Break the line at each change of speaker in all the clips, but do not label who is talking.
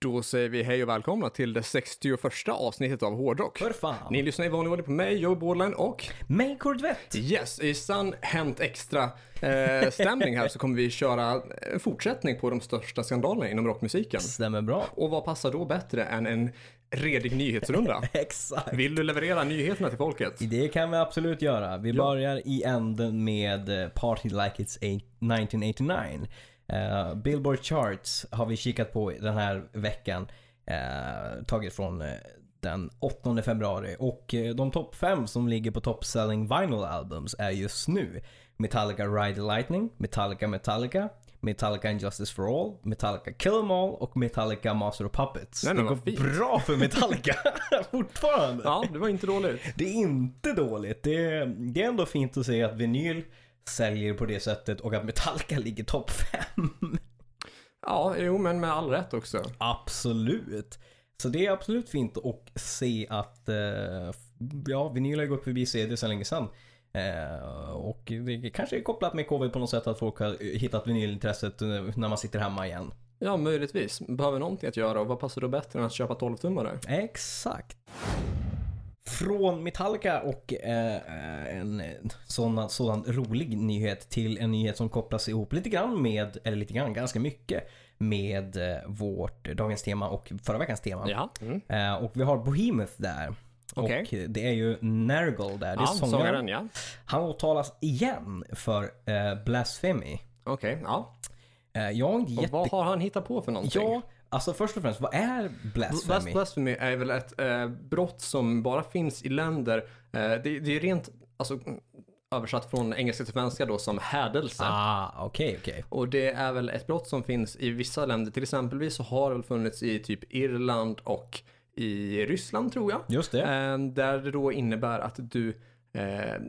Då säger vi hej och välkomna till det 61 avsnittet av Hårdrock.
För fan.
Ni lyssnar i vanlig ordning på mig, Joe Borderline och
Mig Korvett.
Yes, i sann Hänt Extra-stämning här så kommer vi köra en fortsättning på de största skandalerna inom rockmusiken.
Stämmer bra.
Och vad passar då bättre än en redig nyhetsrunda?
Exakt.
Vill du leverera nyheterna till folket?
Det kan vi absolut göra. Vi börjar i änden med eh, Party Like It's a- 1989. Eh, Billboard Charts har vi kikat på den här veckan. eh, tagit från eh, den 8 februari. Och eh, de topp 5 som ligger på top selling vinyl albums är just nu Metallica Ride the Lightning, Metallica Metallica, Metallica Injustice for All, Metallica Kill 'Em All och Metallica Master of Puppets.
Nej,
det
men
går
vad fint.
bra för Metallica fortfarande.
Ja, det var inte dåligt.
Det är inte dåligt. Det är, det är ändå fint att se att vinyl säljer på det sättet och att Metallica ligger topp 5.
Ja, jo, men med all rätt också.
Absolut. Så det är absolut fint att se att eh, ja, vinyl har gått förbi CD så länge sedan. Eh, och det kanske är kopplat med covid på något sätt att folk har hittat vinylintresset eh, när man sitter hemma igen.
Ja, möjligtvis. Behöver någonting att göra och vad passar då bättre än att köpa 12-tummare?
Exakt. Från Metallica och eh, en sådan, sådan rolig nyhet till en nyhet som kopplas ihop lite grann med, eller lite grann, ganska mycket med eh, vårt dagens tema och förra veckans tema.
Ja. Mm.
Eh, och vi har Bohemoth där.
Okej.
Och det är ju Nergal där, det är
Ja,
sångaren.
sångaren, ja.
Han åtalas igen för eh, blasphemy.
Okej, ja.
Eh, jag har inte
Och
jätte...
vad har han hittat på för någonting?
Ja, alltså först och främst, vad är blasphemy?
Blas- Blasphemy är väl ett eh, brott som bara finns i länder, eh, det, det är rent, alltså mm, översatt från engelska till svenska då som hädelse.
ah, okej, okej.
Och det är väl ett brott som finns i vissa länder, till exempelvis så har det väl funnits i typ Irland och i Ryssland tror jag.
Just det.
Eh, Där det då innebär att du eh,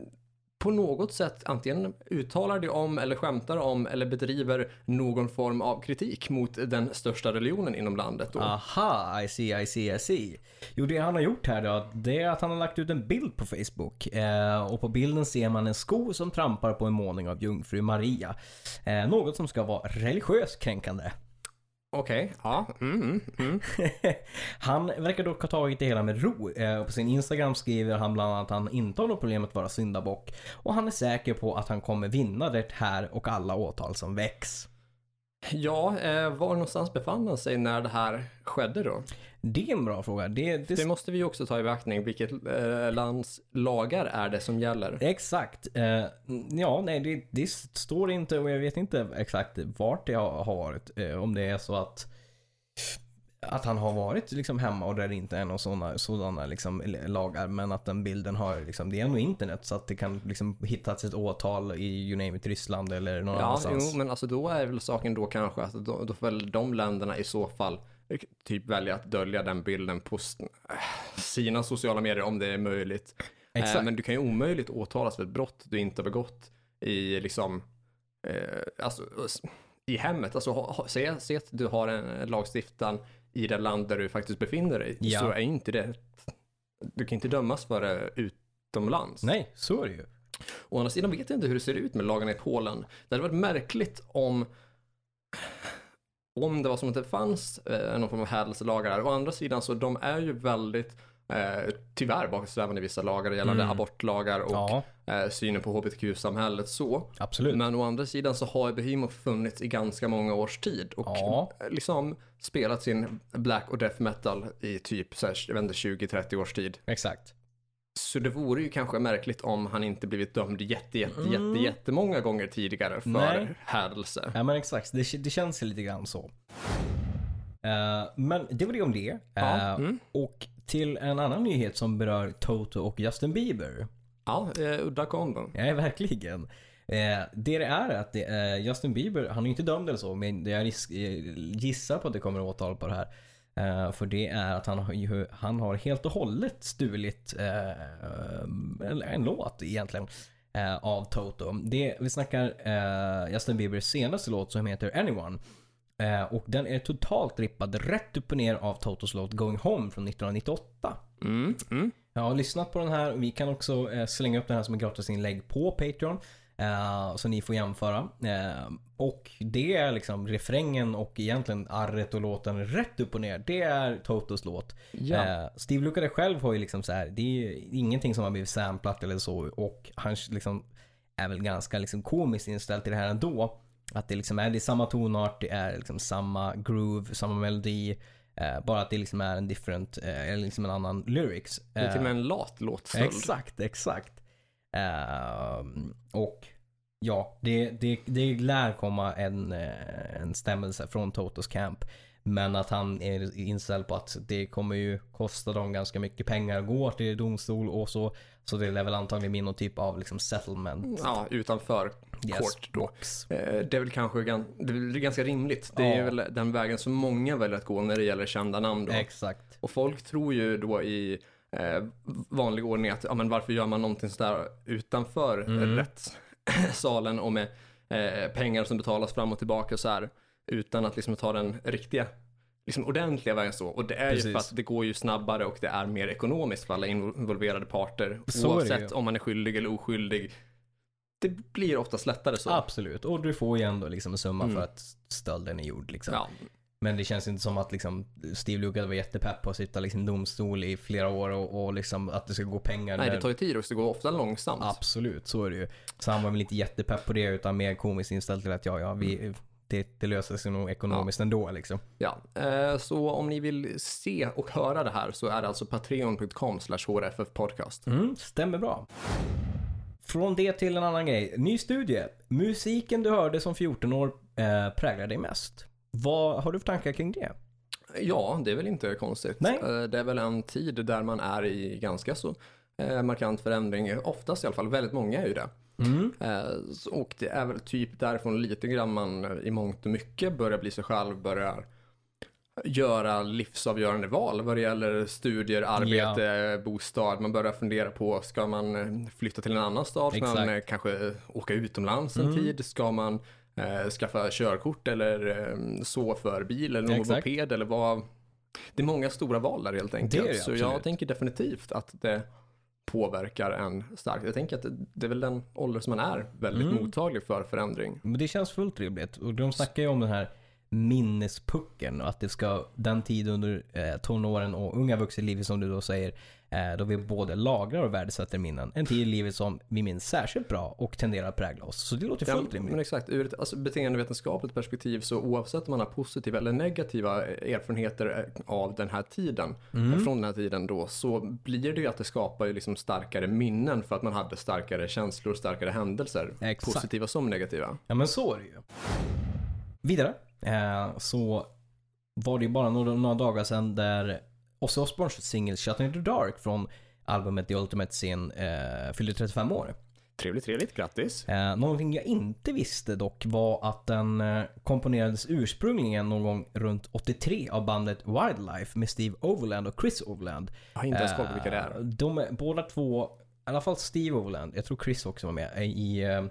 på något sätt antingen uttalar dig om eller skämtar om eller bedriver någon form av kritik mot den största religionen inom landet. Då.
Aha, I see, I see, I see. Jo, det han har gjort här då, det är att han har lagt ut en bild på Facebook. Eh, och på bilden ser man en sko som trampar på en målning av jungfru Maria. Eh, något som ska vara religiöst kränkande.
Okej, ja. Mm, mm, mm.
han verkar dock ha tagit det hela med ro. Eh, och på sin Instagram skriver han bland annat att han inte har något problem att vara syndabock. Och han är säker på att han kommer vinna det här och alla åtal som väcks.
Ja, eh, var någonstans befann han sig när det här skedde då?
Det är en bra fråga. Det, det
Det måste vi ju också ta i beaktning. Vilket eh, lands lagar är det som gäller?
Exakt. Eh, ja, nej, det, det står inte och jag vet inte exakt vart det har har varit. Eh, om det är så att att han har varit liksom hemma och där det inte är några sådana, sådana liksom lagar. Men att den bilden har, liksom, det är nog internet så att det kan liksom hittas ett åtal i you name it, Ryssland eller någon
Ja,
annanstans.
jo, men alltså då är väl saken då kanske att då, då får väl de länderna i så fall eh, typ välja att dölja den bilden på s- eh, sina sociala medier om det är möjligt. Eh,
Exakt.
Men du kan ju omöjligt åtalas för ett brott du inte har begått i liksom, eh, alltså, s- i hemmet. Alltså ha, ha, se, se att du har en lagstiftan i det land där du faktiskt befinner dig,
Ja.
så är ju inte det, du kan inte dömas för det utomlands.
Nej, så är det ju.
Å andra sidan vet jag inte hur det ser ut med lagarna i Polen. Det hade varit märkligt om om det var som att det fanns eh, någon form av hädelselagar där. Å andra sidan så de är ju väldigt eh, tyvärr bakåtsträvande i vissa lagar gällande abortlagar och
Mm. Ja,
eh, synen på hbtq-samhället så.
absolut.
Men å andra sidan så har ju Behemoth funnits i ganska många års tid och
Ja.
eh, liksom spelat sin black och death metal i typ så här, jag vet inte, 20-30 års tid.
Exakt.
Så det vore ju kanske märkligt om han inte blivit dömd jätte, jätte, jätte, jättemånga gånger tidigare för
Mm. Nej.
hädelse.
Ja men exakt, det, det känns ju lite grann så. Eh, men det var det om det. Eh,
Ja, mm.
Och till en annan nyhet som berör Toto och Justin Bieber.
Ja, eh, udda kombo.
Ja, verkligen. Eh, det det är är att det, eh, Justin Bieber, han är ju inte dömd eller så, men jag risk, eh, gissar på att det kommer åtal på det här. Eh, för det är att han har, ju, han har helt och hållet stulit eh, en, en låt egentligen. Eh, av Toto. Det, vi snackar eh, Justin Biebers senaste låt som heter Anyone. Eh, och den är totalt rippad rätt upp och ner av Totos låt Going Home från 1998.
Mm, mm.
Jag har lyssnat på den här och vi kan också eh, slänga upp den här som en gratisinlägg på Patreon. Eh, så ni får jämföra. Eh, och det är liksom refrängen och egentligen arret och låten rätt upp och ner. Det är Totos låt.
Ja.
Eh, Steve Lukather själv har ju liksom så här, det är ju ingenting som har blivit samplat eller så och han liksom är väl ganska liksom komiskt inställd till det här ändå. Att det liksom är, det är samma tonart, det är liksom samma groove, samma melodi. Eh, bara att det liksom är en different, eh, eller liksom en annan lyrics.
Det är till
Eh,
och med en lat låtstöld.
Exakt, exakt. Ehm, och ja, det, det, det lär komma en, eh, en stämmelse från Totos Camp. Men att han är inställd på att det kommer ju kosta dem ganska mycket pengar att gå till domstol och så. Så det lär väl antagligen bli någon typ av liksom settlement.
Ja, utanför
Yes.
kort då.
box.
Eh, Det är väl kanske gan- det är väl ganska rimligt. Det är
Ja.
väl den vägen som många väljer att gå när det gäller kända namn. Då.
Exakt.
Och folk tror ju då i eh, vanlig ordning att ja, men varför gör man någonting sådär utanför mm. rättssalen och med eh, pengar som betalas fram och tillbaka och så här utan att liksom ta den riktiga liksom ordentliga vägen så. Och det är ju
Precis.
för att det går ju snabbare och det är mer ekonomiskt för alla involverade parter.
Så är det
Oavsett
ju.
om man är skyldig eller oskyldig. Det blir oftast lättare så.
Absolut. Och du får ju ändå liksom en summa
Mm.
för att stölden är gjord. Liksom.
Ja,
Men det känns inte som att liksom Steve Lucas var jättepepp på att sitta liksom i domstol i flera år och, och liksom att det ska gå pengar.
Nej,
när-
det tar ju tid också. Det går ofta långsamt.
Absolut, så är det ju. Så han var väl inte jättepepp på det utan mer komiskt inställd till att ja, ja, vi, det, det löser sig nog ekonomiskt ändå liksom.
Mm. Ja, eh, så om ni vill se och höra det här så är det alltså patreon.com slash hrffpodcast.
Mm, stämmer bra. Från det till en annan grej. Ny studie. Musiken du hörde som 14 år eh, präglar dig mest. Vad har du för tankar kring det?
Ja, det är väl inte konstigt.
Nej.
Eh, Det är väl en tid där man är i ganska så eh, markant förändring. Oftast i alla fall, väldigt många är ju det. Eh, så- Och det är väl typ därifrån lite grann man eh, i mångt och mycket börjar bli sig själv, börjar göra livsavgörande val vad det gäller studier, arbete, bostad. Man börjar fundera på, ska man eh, flytta till en annan stad? Ska man
Exakt. Mm.
eh, kanske eh, åka utomlands en tid? Ska man eh, skaffa körkort eller eh, så för bil eller någon
Exakt.
moped eller vad? Det är många stora val där helt enkelt.
det
så jag
absolut.
tänker definitivt att det påverkar en starkt. Jag tänker att det- det är väl den ålder som man är väldigt
Mm.
mottaglig för förändring.
Men det känns fullt rimligt. Och de snackar ju om den här minnespucken och att det ska den tid under eh, tonåren och unga vuxenlivet som du då säger eh, då vi både lagrar och värdesätter minnen. En tid i livet som vi minns särskilt bra och tenderar att prägla oss. Så det låter
Ja,
fullt
men
rimligt.
exakt, ur ett alltså, beteendevetenskapligt perspektiv så oavsett om man har positiva eller negativa eh, erfarenheter av den här tiden,
Mm.
från den här tiden då, så blir det ju att det skapar ju liksom starkare minnen för att man hade starkare känslor, starkare händelser,
Exakt.
positiva som negativa.
Ja men så är det ju. Vidare eh, så var det ju bara några, några dagar sedan där Ozzy Osbournes singel Shut Into the Dark från albumet The Ultimate Sin eh, fyllde 35 år.
Trevligt, trevligt, grattis.
Eh, någonting jag inte visste dock var att den eh, komponerades ursprungligen någon gång runt 83 av bandet Wildlife med Steve Overland och Chris Overland.
Jag har inte ens koll på vilka det
Eh,
är.
De är båda två, i alla fall Steve Overland, jag tror Chris också var med, eh, i eh,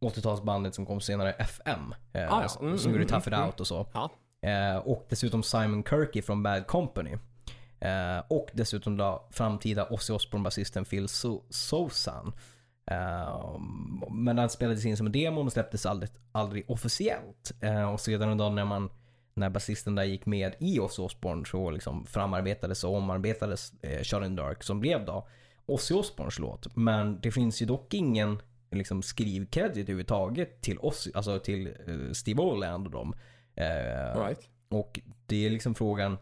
80-talsbandet som kom senare, FM. Eh,
Ah, ja.
som-
Mm,
som
mm,
gjorde Tough It
mm,
Out och så.
Ja.
Eh, och dessutom Simon Kirky från Bad Company. Eh, och dessutom då framtida Ozzy Osbourne-basisten Phil so- Sosan. Eh, men den spelades in som en demo och släpptes aldrig, aldrig officiellt. Eh, och sedan en dag när man när basisten där gick med i Ozzy Osbourne så liksom framarbetades och omarbetades eh, Shut in Dark som blev då Ozzy Osbournes låt. Men det finns ju dock ingen liksom, skrivkredit överhuvudtaget till, Ozzy, alltså till eh, Steve Oland och dem. Eh,
All right.
och det är liksom frågan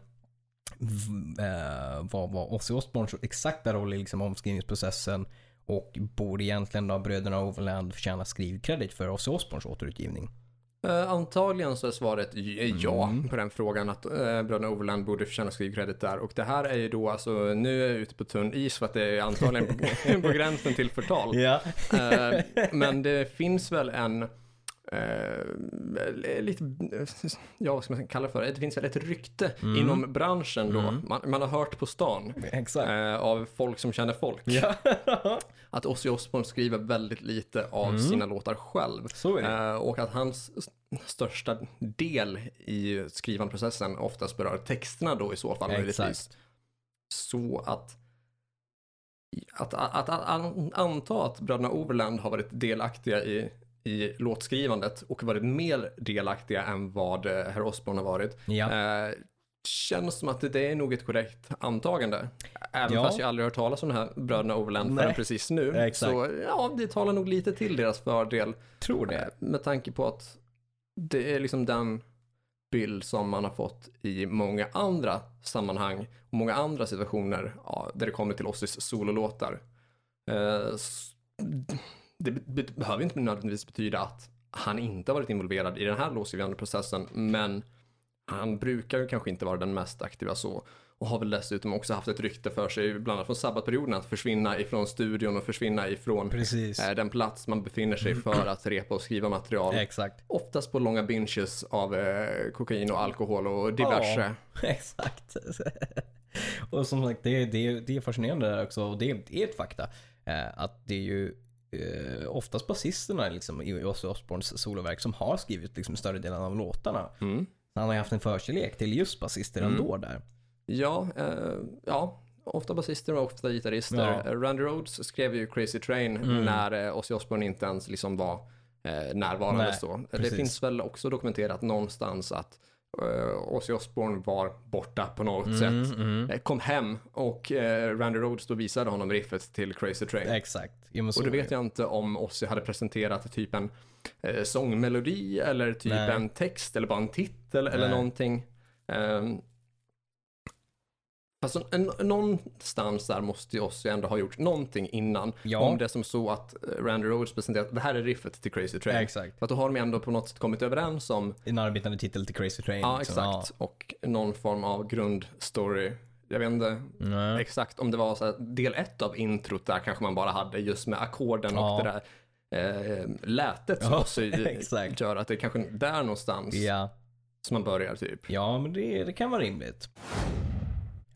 v- eh, vad var Ozzy Osbournes exakta roll i liksom omskrivningsprocessen och borde egentligen då bröderna Overland förtjäna skrivkredit för Ozzy Osbournes återutgivning?
Eh, antagligen så är svaret j- eh, ja
Mm.
på den frågan att eh, bröderna Overland borde förtjäna skrivkredit där. Och det här är ju då alltså, nu är jag ute på tunn is för att det är antagligen på, på gränsen till förtal.
Ja.
Eh, men det finns väl en, eh, lite, ja vad ska man kalla det för, det finns väl ett rykte
Mm.
inom branschen då. Man, man har hört på stan.
Exakt.
eh, av folk som känner folk.
Ja.
Att Ozzy Osbourne skriver väldigt lite av sina låtar själv.
Mm. Så är det.
Eh, Och att hans s- största del i skrivanprocessen oftast berör texterna då i så fall
Exakt.
möjligtvis. Så att att, att, att, att anta att bröderna Overland har varit delaktiga i, i låtskrivandet och varit mer delaktiga än vad eh, herr Osborne har varit.
Ja.
Eh, känns som att det är nog ett korrekt antagande. Även
Ja.
fast jag aldrig hört talas om de här bröderna Overland förrän
Nej.
precis nu.
Exakt.
Så ja, det talar nog lite till deras fördel.
Tror
Eh,
det.
Med tanke på att det är liksom den bild som man har fått i många andra sammanhang och många andra situationer ja, där det kommer till Ossis sololåtar. Eh, s- Det be- behöver inte nödvändigtvis betyda att han inte har varit involverad i den här låtskrivande processen, men han brukar ju kanske inte vara den mest aktiva så och har väl dessutom också haft ett rykte för sig, bland annat från sabbatperioden, att försvinna ifrån studion och försvinna ifrån
Precis.
eh, den plats man befinner sig för att repa och skriva material.
Exakt.
Oftast på långa binges av eh, kokain och alkohol och diverse.
Ja, exakt. och som sagt, det, det, det är fascinerande där också och det, det är ett fakta. Eh, att det är ju eh, oftast basisterna liksom, i Ozzy Osbournes soloverk som har skrivit liksom, större delen av låtarna.
Mm.
Han har ju haft en förkärlek till just basister ändå där.
Ja, eh, ja. Ofta basister och ofta gitarrister. Eh,
Ja. Mm.
Randy Rhodes skrev ju Crazy Train när eh, Ozzy Osbourne inte ens liksom var eh, närvarande.
Nej,
så. Det
precis.
finns väl också dokumenterat någonstans att eh, Ozzy Osbourne var borta på något
Mm,
sätt. Eh, Kom hem och eh, Randy Rhodes då visade honom riffet till Crazy Train.
Exakt. Jo, men så
Och det
är det.
vet jag inte om Ozzy hade presenterat typ en eh, sångmelodi eller typ
Nej.
en text eller bara en titel eller
Nej.
någonting. Um, alltså, en, någonstans där måste ju Ozzy ändå ha gjort någonting innan.
Ja.
Om det är som så att eh, Randy Rhodes presenterat det här är riffet till Crazy Train.
Exakt.
För att då har de ändå på något sätt kommit överens om,
En arbetande titel till Crazy Train.
ja
liksom.
exakt, och någon form av grundstory. Jag vet inte
Ja. Mm. Nej.
Exakt, om det var så här, del ett av introt där kanske man bara hade just med ackorden och
Ja.
det där eh, lätet som
Ja,
också i-
exakt.
gör att det är kanske där någonstans
Ja.
som man börjar typ.
Ja, men det, det kan vara rimligt.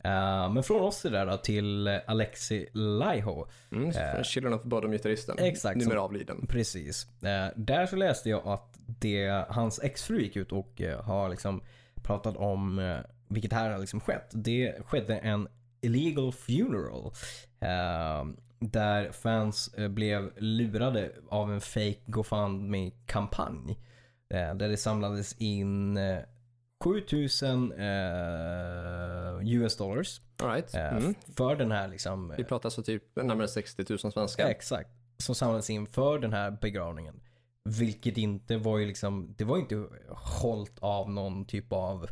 Eh, men från oss där då till Alexi Laiho.
Mm, uh, Children of Bodom-gitarristen,
exakt,
numera
som-
avliden.
Precis. Eh, där så läste jag att det, hans exfru gick ut och eh, har liksom pratat om, eh, vilket här har liksom skett. Det skedde en illegal funeral. eh, där fans eh, blev lurade av en fake GoFundMe-kampanj. eh, där det samlades in eh, 7000 eh, US dollars.
All right.
eh,
Mm.
För den här liksom... eh,
Vi pratar så typ närmare 60 000
Ja,
svenskar.
Exakt. Som samlades in för den här begravningen. Vilket inte var ju liksom, det var ju inte hållt av någon typ av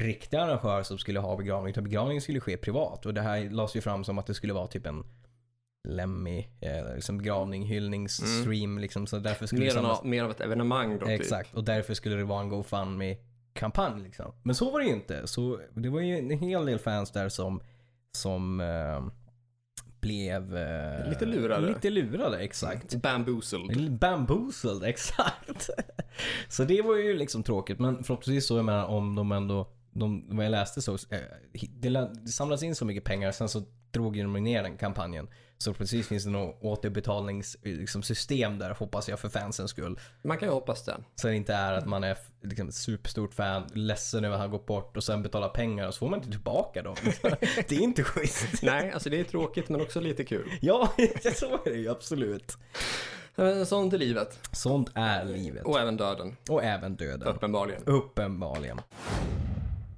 riktig arrangör som skulle ha begravning. Utan begravningen skulle ske privat. Och det här lades ju fram som att det skulle vara typ en Lemmy, eh, liksom begravning, hyllningsstream liksom. Så därför skulle det
Mm. Mer, än,
samlas-
av- mer av ett evenemang då. Typ.
Exakt, och därför skulle det vara en GoFundMe-kampanj. Liksom. Men så var det ju inte. Så det var ju en hel del fans där som, som eh, blev... eh,
Lite lurade. Mm.
Lite lurade, exakt.
Bamboozled.
Bamboozled, exakt. så det var ju liksom tråkigt. Men förhoppningsvis så, jag menar om de ändå, de, vad jag läste så, eh, det lä- det samlades in så mycket pengar, sen så drog ju de ner den kampanjen. Så precis finns det nog återbetalningssystem liksom, system där hoppas jag för fansens skull.
Man kan ju hoppas det.
Så det inte är att man är f- liksom, superstort fan, ledsen över att han gått bort och sen betalar pengar och så får man inte tillbaka dem. det är inte schysst.
Nej, alltså det är tråkigt men också lite kul.
Ja, så är det ju absolut.
Eh, Sånt är livet.
Sånt är livet.
Och även döden,
Och även döden.
uppenbarligen.
Uppenbarligen.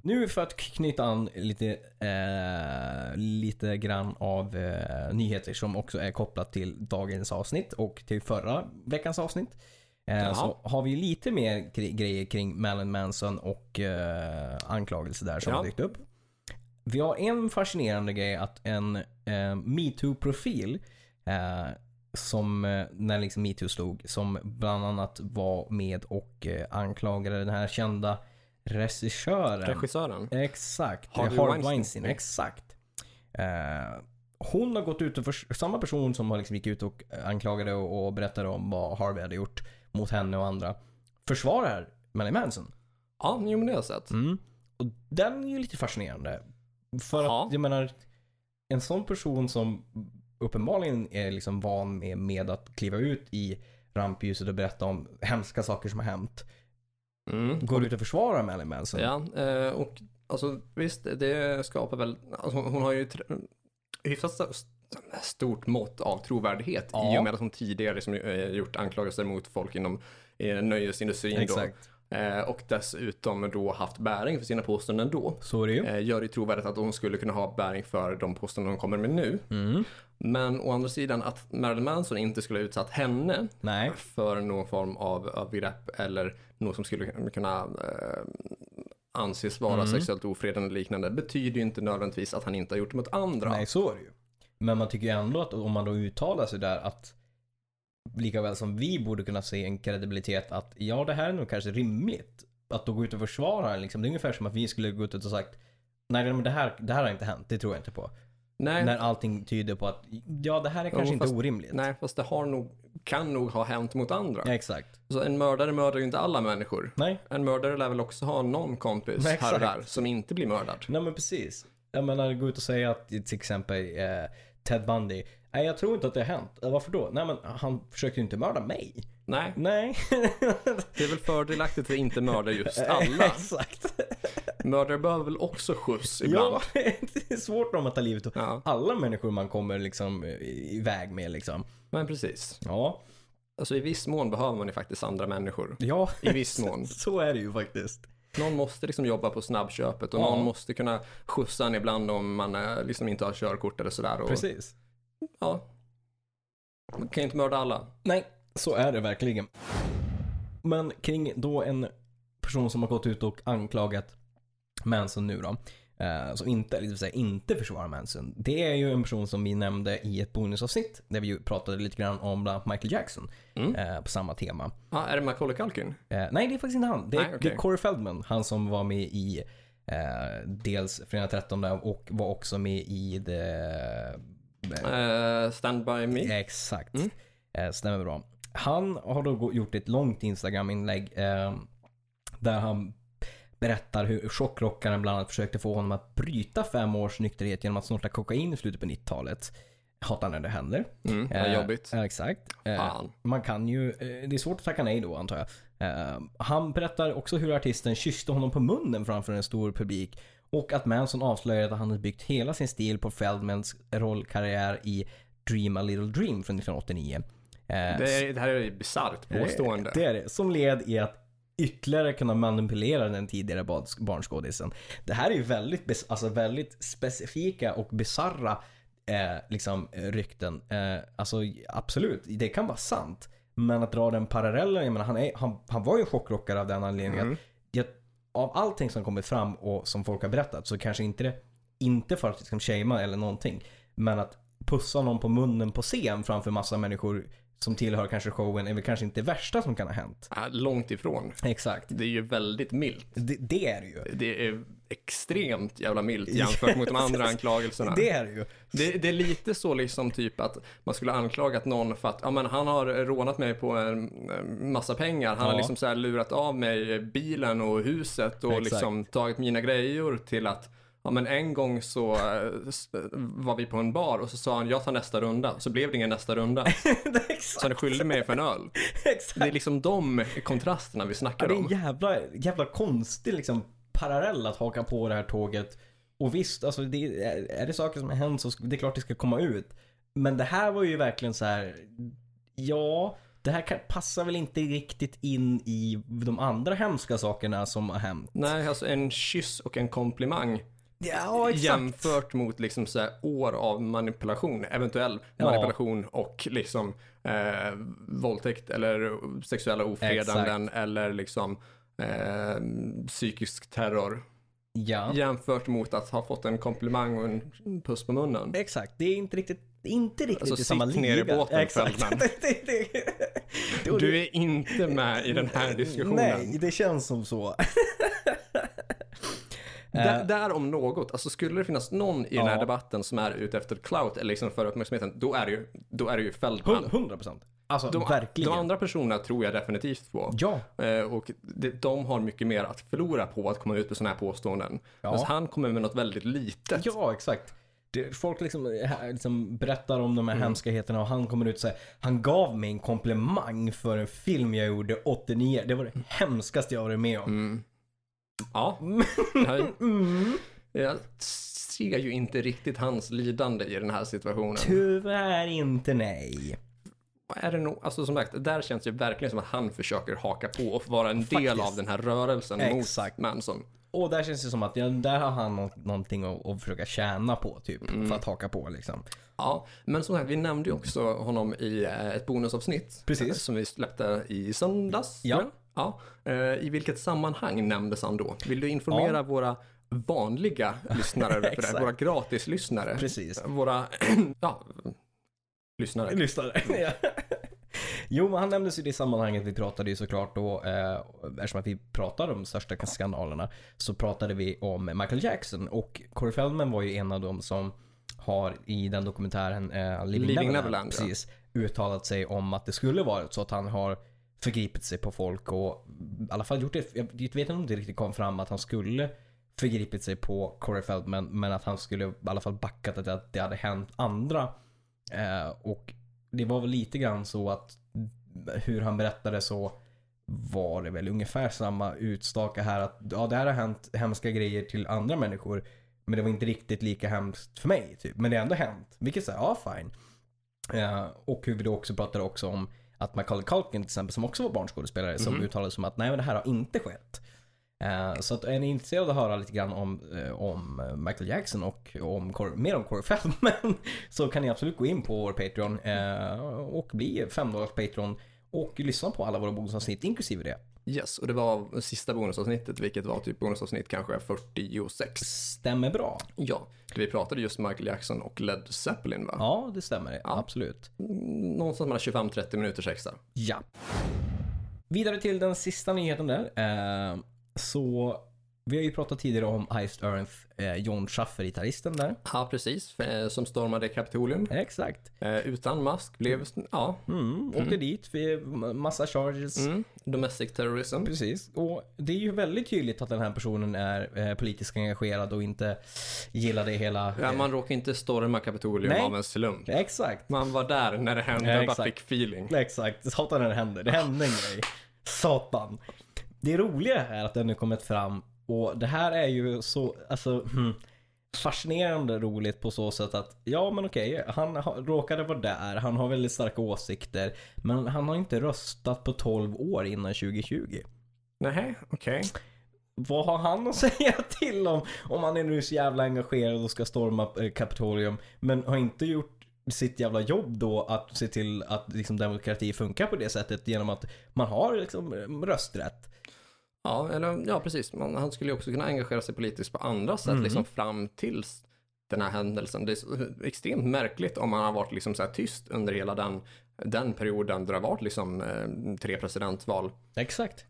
Nu för att knyta an lite, eh, lite grann av eh, nyheter som också är kopplat till dagens avsnitt och till förra veckans avsnitt. Eh,
Jaha.
så har vi lite mer kri- grejer kring Marilyn Manson och eh, anklagelser där som
Ja.
har dykt upp. Vi har en fascinerande grej att en eh, metoo-profil eh, som eh, när liksom metoo slog som bland annat var med och eh, anklagade den här kända regissören.
Regissören.
Exakt.
Harvey
Harvey
Weinstein.
Weinstein. Exakt. Eh, hon har gått ut och för, samma person som har liksom gick ut och anklagade och, och berättade om vad Harvey hade gjort mot henne och andra försvarar Marilyn Manson.
Ja, jo men det har jag sett.
Mm. Och den är ju lite fascinerande. För
Ja.
att jag menar, en sån person som uppenbarligen är liksom van med, med att kliva ut i rampljuset och berätta om hemska saker som har hänt.
Mm.
Går ut och försvarar Marilyn Manson.
Ja, eh, och alltså visst, det skapar väl, alltså, hon har ju tr- hyfsat st- stort mått av trovärdighet
Ja.
i och med att hon tidigare liksom, eh, gjort anklagelser mot folk inom eh, nöjesindustrin.
Exakt.
Då, eh, och dessutom då haft bäring för sina påståenden då.
Så är det ju.
Eh, gör det trovärdigt att hon skulle kunna ha bäring för de påståenden hon kommer med nu.
Mm.
Men å andra sidan att Marilyn Manson inte skulle ha utsatt henne
Nej.
för någon form av övergrepp eller något som skulle kunna eh, anses
Mm.
vara sexuellt ofredande eller liknande betyder ju inte nödvändigtvis att han inte har gjort det mot andra.
Nej, så är det ju. Men man tycker ju ändå att om man då uttalar sig där att lika väl som vi borde kunna se en kredibilitet att ja, det här är nog kanske rimligt. Att då gå ut och försvara liksom. Det är ungefär som att vi skulle gå ut och sagt nej, men det här, det här har inte hänt. Det tror jag inte
Mm.
på.
Nej,
När allting tyder på att ja, det här är kanske inte
fast-
orimligt.
nej, fast det har nog, kan nog ha hänt mot andra.
Ja, exakt.
Så en mördare mördar ju inte alla människor.
Nej.
En mördare lär väl också ha någon kompis
Nej,
här och
exakt.
där som inte blir mördad.
Nej men precis. Jag menar gå ut och säga att till exempel eh, Ted Bundy. Nej jag tror inte att det har hänt. Eh, Varför då? Nej men han försökte ju inte mörda mig.
Nej,
Nej.
det är väl fördelaktigt att inte mörda just alla.
Exakt.
Mördare behöver väl också skjuts ibland.
Ja, det är svårt om att ta livet av
Ja.
alla människor man kommer liksom eh, iväg med liksom.
Men precis.
Ja.
Alltså i viss mån behöver man ju faktiskt andra människor.
Ja.
I viss mån.
Så är det ju faktiskt.
Någon måste liksom jobba på snabbköpet och
Ja.
någon måste kunna skjutsa en ibland om man eh, liksom inte har körkort eller sådär. Och,
Precis.
Ja. Man kan ju inte mörda alla.
Nej, så är det verkligen. Men kring då en person som har gått ut och anklagat Manson nu då. eh, Som inte, eller det vill säga inte försvarar Manson. Det är ju en person som vi nämnde i ett bonusavsnitt. Där vi ju pratade lite grann om bland annat Michael Jackson.
Mm.
eh, På samma tema.
Ja, Ah, är det Macaulay Culkin?
Eh, nej, det är faktiskt inte han. Det är,
Nej, okej.
det är Corey Feldman. Han som var med i eh, dels Fredag 13 där och var också med i The...
Eh, Stand by me?
Exakt.
Mm.
Eh, stämmer bra. Han har då gå- gjort ett långt Instagram-inlägg eh, där han berättar hur chockrockaren bland annat försökte få honom att bryta fem års nykterhet genom att snorta kokain i slutet på 90-talet. Hatar när det händer.
Mm, vad
Eh,
jobbigt.
ja, exakt. Eh,
Fan.
man kan ju, eh, det är svårt att tacka nej då antar jag. Eh, Han berättar också hur artisten kysste honom på munnen framför en stor publik och att Manson avslöjade att han hade byggt hela sin stil på Feldmans rollkarriär i Dream a little dream från 1989. Eh,
Det, är, det här är ett bisarrt påstående.
det är det. Som led i att ytterligare kunna manipulera den tidigare bad- barnskådisen. Det här är ju väldigt, bes- alltså väldigt specifika och bizarra eh, liksom, eh, rykten. Eh, alltså absolut, det kan vara sant. Men att dra den parallellen, jag menar, han, är, han, han var ju chockrockare av den anledningen. Att, jag, av allting som kommit fram och som folk har berättat så kanske inte det, inte för att liksom shamea eller någonting, men att pussa någon på munnen på scen framför massa människor som tillhör kanske showen är väl kanske inte det värsta som kan ha hänt.
Ja, Långt ifrån.
Exakt.
Det är ju väldigt milt.
Det, det är det ju.
Det är extremt jävla milt jämfört mot de andra anklagelserna.
Det är det ju.
Det, det är lite så liksom typ att man skulle anklaga att någon för att ja, men han har rånat mig på en en massa pengar. Han har
Ja.
liksom så här lurat av mig bilen och huset och
Exakt.
liksom tagit mina grejer till att Ja men en gång så eh, s- var vi på en bar och så sa han jag tar nästa runda. Så blev det ingen nästa runda.
Det är exakt.
Så han skyllde mig för en öl.
exakt.
Det är liksom de kontrasterna vi
Ja,
snackar
det är en
om.
jävla, jävla konstig liksom parallell att haka på det här tåget. Och visst, alltså det, är- är det saker som har hänt så sk- det är klart det ska komma ut. Men det här var ju verkligen så här. Ja, det här kan, passar väl inte riktigt in i de andra hemska sakerna som har hänt.
Nej, alltså en kyss och en komplimang
Ja,
Jämfört mot liksom så här år av manipulation, eventuell
Ja.
manipulation och liksom eh, våldtäkt eller sexuella ofredanden eller liksom eh, psykisk terror.
Ja.
Jämfört mot att ha fått en komplimang och en puss på munnen.
Exakt, det är inte riktigt, inte riktigt
Alltså,
i samma
sitt
liga.
ner i båten,
Exakt.
Feldman.
det, det, det.
Du är inte med i den här diskussionen.
Nej, det känns som så.
Där, där om något, alltså skulle det finnas någon i den här
Eh. Ja.
debatten som är ute efter clout eller liksom för uppmärksamheten, då är det ju, då är det ju Feldman.
100 procent. Alltså
De,
verkligen.
de andra personerna tror jag definitivt på.
Ja,
Eh, Och de, de har mycket mer att förlora på att komma ut med sådana här påståenden.
Ja.
Men han kommer med något väldigt litet.
ja exakt. Det, folk liksom, eh, här, liksom berättar om de här hemskheterna och han kommer ut och säger Han gav mig en komplimang för en film jag gjorde 89. Det var det Mm. hemskaste jag varit med om. Mm.
Ja. Det här- Jag ser ju inte riktigt hans lidande i den här situationen.
Tyvärr inte nej.
Är det nog, alltså som sagt, där känns det ju verkligen som att han försöker haka på och vara en del
Faktiskt.
av den här rörelsen
Exakt.
mot Manson.
Och där känns det som att ja, där har han nå- någonting att, att försöka tjäna på typ. För att haka på liksom.
Ja, men som sagt, vi nämnde ju också honom i eh, ett bonusavsnitt.
Precis.
eh, Som vi släppte i söndags.
Ja.
tror jag. ja. Eh, I vilket sammanhang nämndes han då? Vill du informera våra vanliga lyssnare, för det, här,
Exakt.
våra gratislyssnare?
Precis.
Våra, ja, lyssnare.
Lyssnare. Ja. Jo, men han nämndes ju i det sammanhanget. Vi pratade ju såklart då, eh, eftersom att vi pratade om största skandalerna, så pratade vi om Michael Jackson. Och Corey Feldman var ju en av dem som har i den dokumentären eh,
Living
Living, Neverland,
Neverland, ja.
precis, uttalat sig om att det skulle varit så att han har förgripit sig på folk och i alla fall gjort det. Jag vet inte om det riktigt kom fram att han skulle förgripit sig på Corey Feldman, men att han skulle i alla fall backat att det- att det hade hänt andra. Eh, och det var väl lite grann så att hur han berättade så var det väl ungefär samma utstaka här att ja, det här har hänt hemska grejer till andra människor. Men det var inte riktigt lika hemskt för mig. Typ. Men det har ändå hänt. Vilket säger ja fine. Eh, och hur vi då också pratade också om att Macaulay Culkin till exempel som också var barnskådespelare som uttalade som att nej men det här har inte skett. Eh, så att är ni intresserade av att höra lite grann om, eh, om Michael Jackson och om, Cor- mer om Corey Feldman så kan ni absolut gå in på vår Patreon eh, och bli 5 Patreon och lyssna på alla våra bonusavsnitt inklusive det.
Yes, och det var sista bonusavsnittet, vilket var typ bonusavsnitt kanske 46.
Stämmer bra.
Ja, vi pratade just Michael Jackson och Led Zeppelin va? Mm,
Ja, det stämmer det. Absolut.
Någonstans mellan 25-30 minuters extra.
Ja. Vidare till den sista nyheten där. Eh, så vi har ju pratat tidigare om Iced Earth, eh, John Schaffer, gitarristen där.
Ja, precis. eh, Som stormade Kapitolium.
Exakt.
Eh, Utan mask blev, ja,
Mm, åkte dit, vi, massa charges.
mm, domestic terrorism.
Precis. Och det är ju väldigt tydligt att den här personen är eh, politiskt engagerad och inte gillar det hela.
Ja, man råkar inte storma Kapitolium
Nej.
av en slump.
Exakt.
Man var där när det hände,
Ja,
man bara
exakt.
fick feeling.
Exakt, satan när det händer. Det hände en grej. Satan. Det roliga är att den nu kommit fram och det här är ju så, alltså hmm, fascinerande roligt på så sätt att ja men okej, han har- råkade vara där, han har väldigt starka åsikter men han har inte röstat på 12 år innan 2020.
Nej, okej.
Vad har han att säga till om? Om han är nu så jävla engagerad och ska storma eh, Kapitolium men har inte gjort sitt jävla jobb då att se till att liksom, demokrati funkar på det sättet genom att man har liksom, eh, rösträtt.
Ja, eller, ja, precis. Man, han skulle ju också kunna engagera sig politiskt på andra sätt,
Mm.
liksom fram tills den här händelsen. Det är så, eh, extremt märkligt om han har varit liksom så här tyst under hela den, den perioden där det har varit liksom eh, tre presidentval.
Exakt.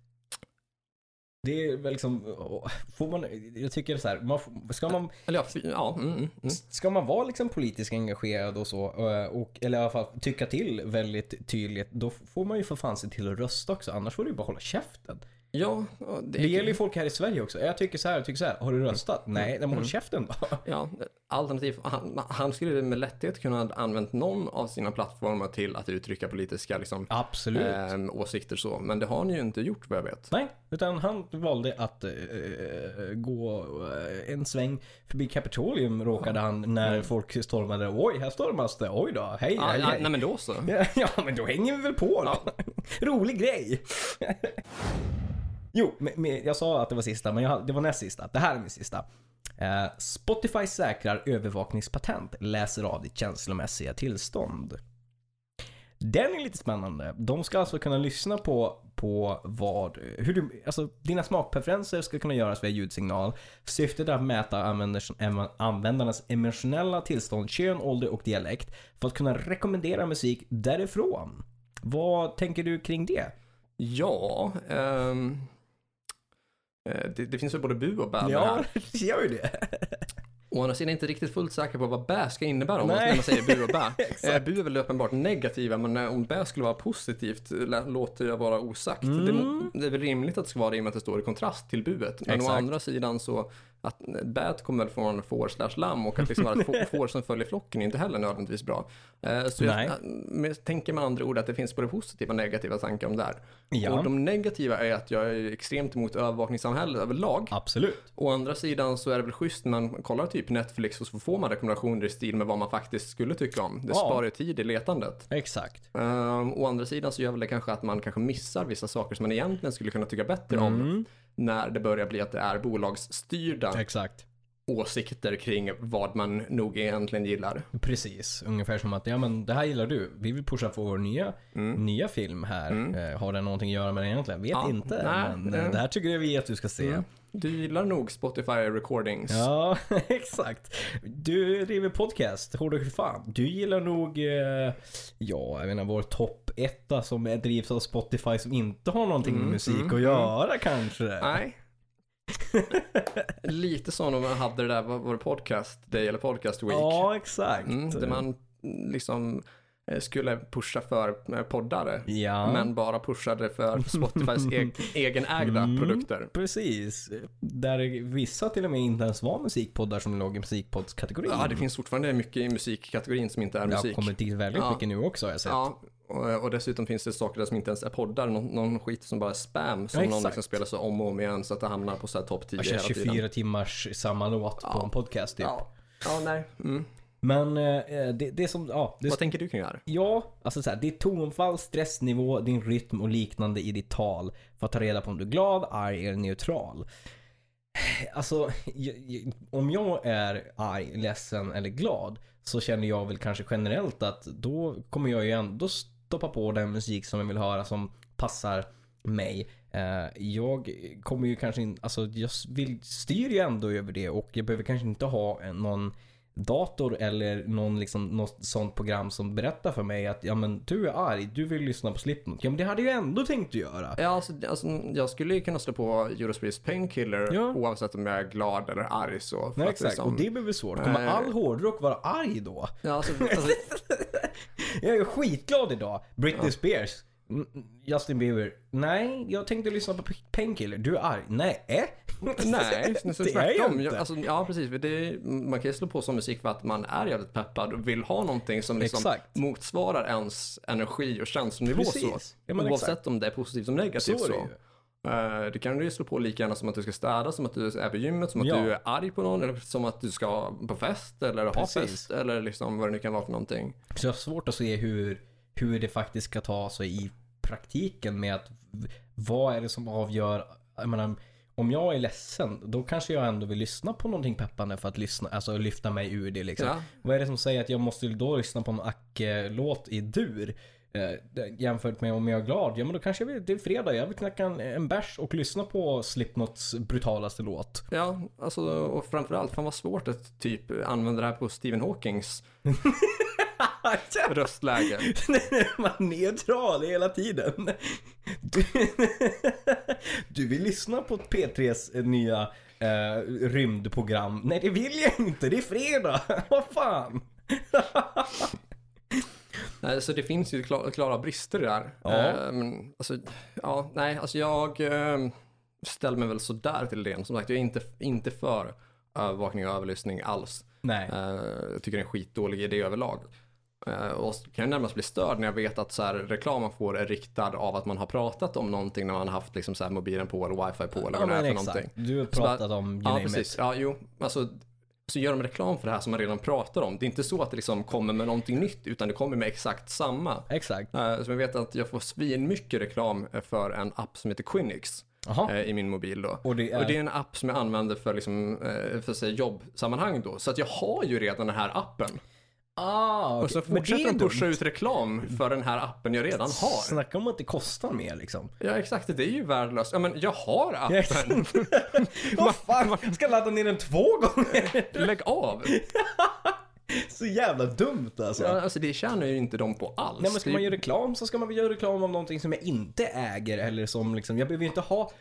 Det är väl liksom, åh, får man, jag tycker så här, man, får- ska man
Eller ja, fy- ja mm, mm, mm.
Ska man vara liksom politiskt engagerad och så, eh, och, eller i alla fall tycka till väldigt tydligt, då får man ju för fan se till att rösta också. Annars får du ju bara hålla käften.
Ja, ja, det,
Det
är,
gäller ju folk här i Sverige också. Jag tycker så här, jag tycker så här. Har du röstat?
Mm.
Nej, men håll käften då.
ja, alternativ. Han, han skulle ju med lätthet kunna ha använt någon av sina plattformar till att uttrycka politiska liksom,
Absolut.
ehm, åsikter så. Men det har han ju inte gjort vad jag vet.
Eh, Nej, utan han valde att eh, eh, gå eh, en sväng förbi Kapitolium råkade han när folk stormade. Oj, här stormas det. Oj då, hej,
Mm. Ja,
hej,
ja,
hej.
Ah, nej men då så.
Ja, men då hänger vi väl på då. Rolig grej. jo, men, men, jag sa att det var sista, men jag, det var näst sista. Det här är min sista. Eh, Spotify säkrar övervakningspatent, läser av ditt känslomässiga tillstånd. Den är lite spännande. De ska alltså kunna lyssna på, på vad, hur du, alltså dina smakpreferenser ska kunna göras via ljudsignal. Syftet är att mäta använders, em- användarnas emotionella tillstånd, kön, ålder och dialekt för att kunna rekommendera musik därifrån. Vad tänker du kring det?
Ja, ehm, eh, det, det finns väl både bu och bä med det här.
det gör ju det.
Å andra sidan är jag inte riktigt fullt säker på vad bä ska innebära om man,
Nej.
när man säger bu och bä. Eh, bu är väl uppenbart negativa, men eh, om bä skulle vara positivt lä- låter jag vara Mm. osagt. Det, må- det är väl rimligt att det ska vara det i och med att det står i kontrast till buet. Men å
Exakt.
andra sidan så att eh, bät kommer väl från får slash lamm och att liksom vara ett få- får som följer flocken är inte heller nödvändigtvis bra. Eh, Så jag
Nej.
men jag tänker med andra ord att det finns både positiva och negativa tankar om det här.
Ja.
Och de negativa är att jag är extremt emot övervakningssamhället överlag.
Absolut.
Å andra sidan så är det väl schysst när man kollar typ Netflix så får man rekommendationer i stil med vad man faktiskt skulle tycka om. Det
Ja.
sparar ju tid i letandet.
Exakt.
Ehm, å andra sidan så gör väl det kanske att man kanske missar vissa saker som man egentligen skulle kunna tycka bättre
Mm.
om. När det börjar bli att det är bolagsstyrda
Exakt.
åsikter kring vad man nog egentligen gillar.
Precis, ungefär som att ja, men det här gillar du. Vi vill pusha för vår nya, nya film här. Eh, har det någonting att göra med det egentligen? Vet
Mm. Ja,
inte.
nej,
men
nej. Mm.
eh, det här tycker vi att du ska se.
Du gillar nog Spotify recordings.
Ja, exakt. Du driver podcast, hårdare för fan. Du gillar nog, eh, ja, jag menar vår topp etta som är- drivs av Spotify som inte har någonting med musik att göra kanske.
Mm, Nej. Lite som om man hade det där, vad var det podcast day eller podcast week?
Ja, exakt.
Mm, där man liksom eh, skulle pusha för eh, poddare.
Ja,
Men bara pushade för Spotifys e- egenägda
Mm.
produkter.
precis. Där vissa till och med inte ens var musikpoddar som låg i musikpoddskategorin.
Ja, det finns fortfarande mycket i musikkategorin som inte är
Jag
musik.
har kommit dit väldigt
Ja.
mycket nu också har jag sett.
Ja, och, och dessutom finns det saker där som inte ens är poddar. Någon, någon skit som bara är spam som
Ja,
någon
exakt.
liksom spelar så om och om igen så att det hamnar på så här topp 10
Jag
hela
kör
tiden.
24 timmars samma låt på en podcast typ.
Ja. ja, nej. Mm.
Men eh, det, det som, ja, det,
Vad tänker du kring det här?
Ja, alltså så här, ditt tonfall, stressnivå, din rytm och liknande i ditt tal för att ta reda på om du är glad, arg eller neutral. Alltså, jag, jag, om jag är arg, ledsen eller glad så känner jag väl kanske generellt att då kommer jag ju ändå stoppa på den musik som jag vill höra som passar mig. Eh, Jag kommer ju kanske inte, alltså jag vill, styr ju ändå över det och jag behöver kanske inte ha en- någon dator eller någon liksom, något sånt program som berättar för mig att ja men du är arg, du vill lyssna på Slipknot. Ja men det hade jag ändå tänkt att göra.
Ja, alltså, alltså, jag skulle ju kunna slå på Eurospace Painkiller
Ja.
oavsett om jag är glad eller arg. Så, för
Nej,
att
exakt,
liksom-
och det blir väl svårt. Kommer
Nej.
all hårdrock vara arg då?
ja, alltså, alltså,
Jag är skitglad idag. Britney Spears. Mm, Justin Bieber. Nej, jag tänkte lyssna på Painkiller. Du är arg. Nej. eh?
Nej, så
Det är jag
tvärtom. Jag,
inte.
alltså, ja, precis. Det är, man kan ju slå på sån musik för att man är jävligt peppad och vill ha någonting som liksom
Exakt.
motsvarar ens energi och känslonivå. Så.
Precis. Ja, men
Oavsett
exakt.
om det är positivt som negativt.
Så
Så
är det ju.
Eh, det kan du ju slå på lika gärna som att du ska städa, som att du är på gymmet, som att
Ja.
du är arg på någon, eller som att du ska på fest eller ha
Precis.
fest eller liksom vad det nu kan vara för någonting.
Så jag har svårt att se hur, hur det faktiskt ska ta sig i praktiken med att v- vad är det som avgör. Jag menar, om jag är ledsen, då kanske jag ändå vill lyssna på någonting peppande för att lyssna, alltså lyfta mig ur det liksom.
Ja.
Vad är det som säger att jag måste då lyssna på en Acke-låt i dur? Eh, det- jämfört med om jag är glad, ja men då kanske jag vill, det är fredag, jag vill knacka en, en bärs och lyssna på Slipknots brutalaste låt.
Ja, alltså, och framförallt, fan vad svårt att typ använda det här på Stephen Hawkings röstläge.
Man är neutral hela tiden. Du, du vill lyssna på P3s nya eh, rymdprogram. Nej det vill jag inte, det är fredag. Vad fan.
Nej, så det finns ju kla- klara brister där.
Ja.
Ehm, alltså, ja, nej, alltså jag ehm, ställer mig väl sådär till det. Som sagt, jag är inte, inte för övervakning och överlyssning alls.
Nej.
Eh, jag tycker det är en skitdålig idé överlag. Eh, och kan ju närmast bli störd när jag vet att så här, reklam man får är riktad av att man har pratat om någonting när man har haft liksom, så här, mobilen på eller wifi på eller
Ja,
vad det är
men
för
exakt.
någonting.
Du har
Så bara-
pratat om you
Ja,
name
precis.
it.
Ja, jo. Alltså, så gör de reklam för det här som man redan pratar om. Det är inte så att det liksom kommer med någonting nytt, utan det kommer med exakt samma.
Exakt.
Eh, Så jag vet att jag får svin mycket reklam för en app som heter Quinix
Jaha.
eh, i min mobil då.
Och det är-
och det är en app som jag använder för, liksom, eh, för att säga, jobbsammanhang då. Så att jag har ju redan den här appen.
Ah,
Och så fortsätter de pusha ut reklam för den här appen jag redan har.
Snacka om att det kostar mer liksom.
Ja exakt, det är ju värdelöst. Ja men jag har appen,
Vad fan, jag ska ladda ner den två gånger.
lägg av.
Så jävla dumt alltså.
Ja, alltså det tjänar ju inte de på alls.
Nej men ska
Det är
man
ju-
göra reklam så ska man väl göra reklam om någonting som jag inte äger eller som liksom, jag behöver ju inte ha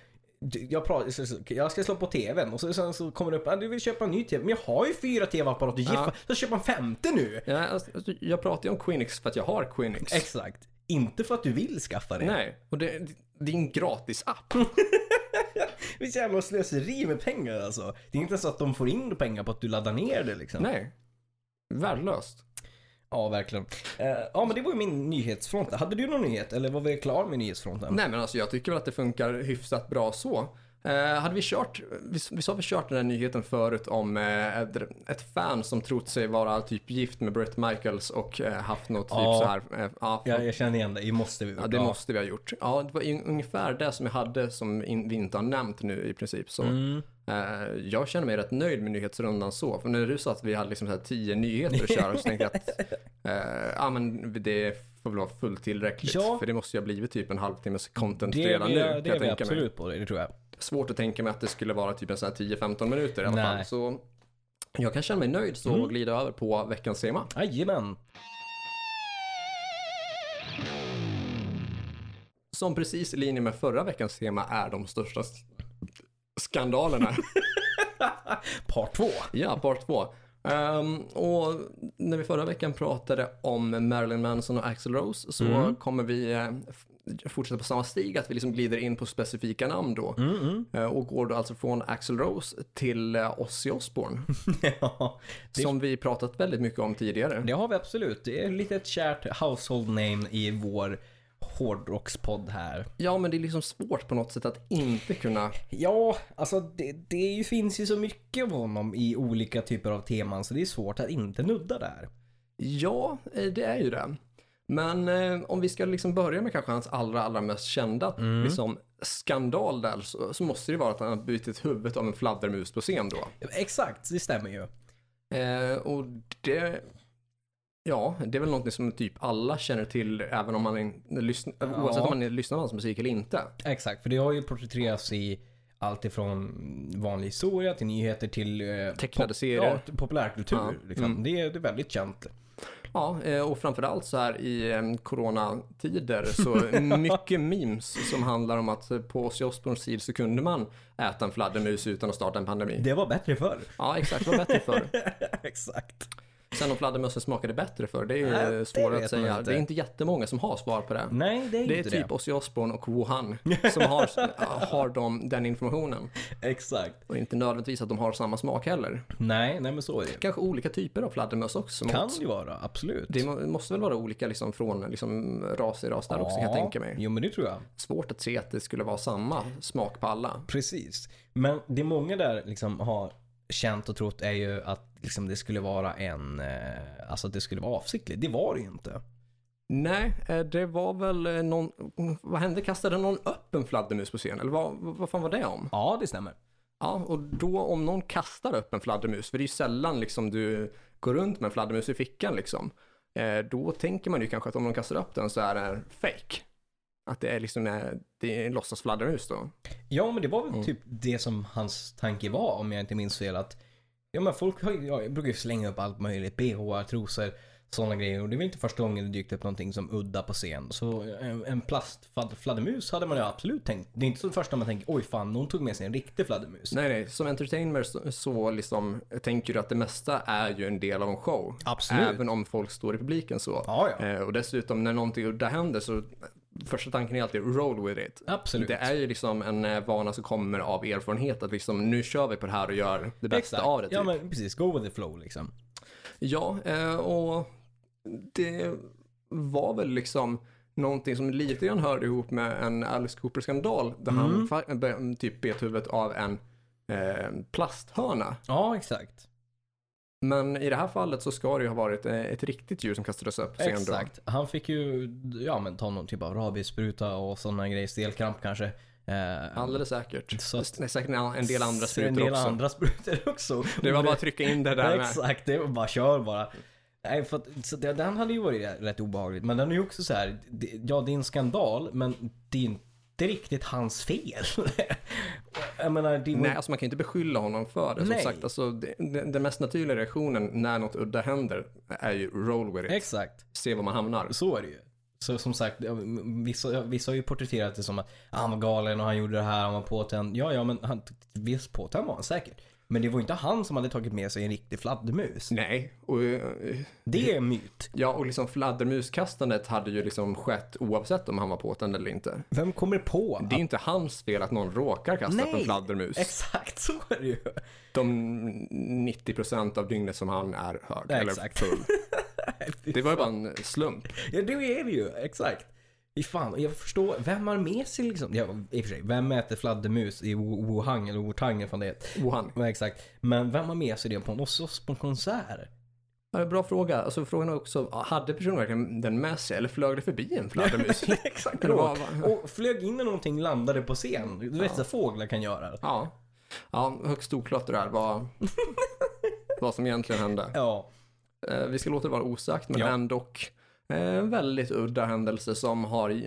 du, jag, pratar, så- så- jag ska slå på tvn och så, sen så kommer det upp, "Ah, du vill köpa en ny tv, men jag har ju fyra tv-apparater, ja. så köp en femte nu!
Ja, alltså, jag pratar ju om Quinix för att jag har Quinix.
Exakt. Inte för att du vill skaffa det.
Nej, och det, det är en gratis app.
Vilket jävla slöseri med pengar alltså. Det är inte ens så att de får in pengar på att du laddar ner det liksom.
Nej. Värdelöst.
Ja, verkligen. Eh, ja, men det var ju min nyhetsfront. Hade du någon nyhet? Eller var vi klar med nyhetsfronten?
Nej men alltså jag tycker väl att det funkar hyfsat bra så. Eh, hade vi kört, vi, vi sa vi kört den här nyheten förut om eh, ett, ett fan som trott sig vara typ gift med Brett Michaels och eh, haft något typ
Ja.
så här. Eh, ja,
Ja, jag känner igen det. Det måste vi
ja, det måste vi ha gjort. Ja, det var in, ungefär det som jag hade som in, vi inte har nämnt nu i princip. Så.
Mm.
Eh, jag känner mig rätt nöjd med nyhetsrundan så. För när du sa att vi hade liksom så här tio nyheter att köra så tänkte jag att eh, ja, men det får väl vara fullt tillräckligt.
Ja.
För det måste ju ha blivit typ en halvtimmes content
Det är
redan
vi,
nu. kan
det
jag
är vi
tänka mig.
absolut på, det tror jag.
Svårt att tänka mig att det skulle vara typ en sån här 10-15 minuter i alla
Nej. Mm.
fall. Så jag kan känna mig nöjd så och glida över på veckans tema.
Jajamän.
Som precis i linje med förra veckans tema är de största s- skandalerna.
Part två.
Ja, part två. Ehm, och när vi förra veckan pratade om Marilyn Manson och Axl Rose så kommer vi eh, f- fortsätta på samma stig, att vi liksom glider in på specifika namn då. Eh, och går då alltså från Axl Rose till eh, Ozzy Osbourne,
ja,
som vi pratat väldigt mycket om tidigare.
det har vi absolut. Det är lite ett kärt household name i vår hårdrockspodd här.
Ja, men det är liksom svårt på något sätt att inte kunna...
Ja, alltså det, det är ju, finns ju så mycket av honom i olika typer av teman så det är svårt att inte nudda där.
Ja, eh, det är ju det. Men eh, om vi ska liksom börja med kanske hans allra, allra mest kända liksom, skandal där så, så måste det ju vara att han har brutit huvudet av en fladdermus på scen då.
Exakt, det stämmer ju.
Eh, och det... Ja, det är väl någonting som typ alla känner till även om man in, lyssn, oavsett om man lyssnar på hans musik eller inte.
Exakt, för det har ju porträtterats i allt ifrån vanlig historia till nyheter till eh,
Tecknade serier.
Ja, till populärkultur.
Ja,
Liksom. Det, är, det är väldigt känt.
Ja, eh, och framförallt så här i eh, coronatider så mycket memes som handlar om att eh, på Ozzy Osbournes tid så kunde man äta en fladdermus utan att starta en pandemi.
Det var bättre förr.
Ja, exakt. Det var bättre förr.
Exakt.
Sen om fladdermössen smakade bättre för det
Nej,
är ju
det
svårare
vet
att
man
säga.
inte.
Det är inte jättemånga som har svar på det.
Nej, det är,
Det är
inte
typ Ozzy Osbourne och Wuhan som har, har de, den informationen.
det. Exakt.
Och inte nödvändigtvis att de har samma smak heller.
Nej, nej men så är det.
Kanske olika typer av fladdermöss också. som
Kan
åt.
ju vara, absolut.
Det må- måste väl vara olika liksom från liksom ras i ras där också kan jag
Ja,
tänka mig.
Jo men det tror jag.
Svårt att se att det skulle vara samma smak på alla.
Precis. Men det många där liksom har känt och trott är ju att liksom det skulle vara en, eh, alltså att det skulle vara avsiktligt. Det var det ju inte.
Nej, eh, det var väl eh, någon, vad hände? Kastade någon upp en fladdermus på scen? Eller vad, vad fan var det om?
Ja, det stämmer.
Ja, och då om någon kastar upp en fladdermus, för det är ju sällan liksom du går runt med en fladdermus i fickan liksom, eh, då tänker man ju kanske att om någon kastar upp den så är det fake. Att det är liksom eh, det är en låtsas fladdermus då.
Ja, men det var väl
Mm.
typ det som hans tanke var om jag inte minns fel. Att, ja, men folk har, ju- ja, jag brukar ju slänga upp allt möjligt. BH, trosor, sådana grejer. Och det var inte första gången det dykt upp någonting som udda på scen. Så en, en plastfladdermus hade man ju absolut tänkt. Det är inte så första man tänker, oj fan, någon tog med sig en riktig fladdermus.
Nej, nej, som entertainer så, så liksom tänker du att det mesta är ju en del av en show.
Absolut.
Även om folk står i publiken så.
Ja, ja.
Eh, och dessutom när någonting udda händer så första tanken är alltid roll with it.
Absolut.
Det är ju liksom en eh, vana som kommer av erfarenhet att liksom nu kör vi på det här och gör det bästa
Exakt.
av det. Typ.
Ja, men precis. Go with the flow liksom.
Ja, eh, och det var väl liksom någonting som lite grann hörde ihop med en Alice Cooper-skandal där
Mm.
han fa- be- typ bet huvudet av en eh, plasthörna.
Ja, exakt.
Men i det här fallet så ska det ju ha varit eh, ett riktigt djur som kastades upp. sen då.
Exakt. Han fick ju ja, men, ta någon typ av rabiesspruta och sådana grejer. Stelkramp kanske. Eh,
Alldeles säkert.
Så att-
Det är säkert en, en del andra
Så en
sprutor
del
också.
andra sprutor också.
Det var bara att trycka in det där med.
Exakt, det var bara kör bara. Nej, för att, så det, den hade ju varit rätt obehagligt. Men den är ju också så här, det, ja det är en skandal men det är inte riktigt hans fel. Jag menar, det var,
Nej, alltså man kan ju inte beskylla honom för det.
Nej.
Som sagt, alltså, det- den, den mest naturliga reaktionen när något udda händer är ju roll with it.
Exakt.
Se var man hamnar.
Så är det ju. Så som sagt, ja, vissa, vissa har ju porträtterat det som att ah, han var galen och han gjorde det här, han var påtänd. Ja, ja, men han, visst påtänd var han säkert. Men det var inte han som hade tagit med sig en riktig fladdermus.
Nej, och, eh,
Det är en myt.
ja, och liksom fladdermuskastandet hade ju liksom skett oavsett om han var påtänd eller inte.
Vem kommer på?
Det är ju inte hans fel att någon råkar kasta upp en
Nej,
fladdermus.
Exakt så är det ju.
de 90 procent av dygnet som han är hög.
Ja,
eller
exakt.
full. Det var ju bara en slump.
Ja, det är det ju. Exakt. I fan, jag förstår. Vem har med sig liksom? Ja, i och för sig, vem äter fladdermus i Wu- Wuhan eller Wutang eller vad det heter?
Och han.
Ja, exakt. Men vem har med sig det på en, och så på en konsert?
Ja, Bra fråga. Alltså frågan är också, hade personen verkligen den med sig eller flög det förbi en fladdermus?
exakt.
Eller vad-
Och flög in i någonting, landade på scen. Du vet så fåglar kan göra.
ja. ja, högst oklart det där vad, vad som egentligen hände.
Ja.
Eh, Vi ska låta det vara osagt, men
Ja.
ändå en väldigt udda händelse som har, eh,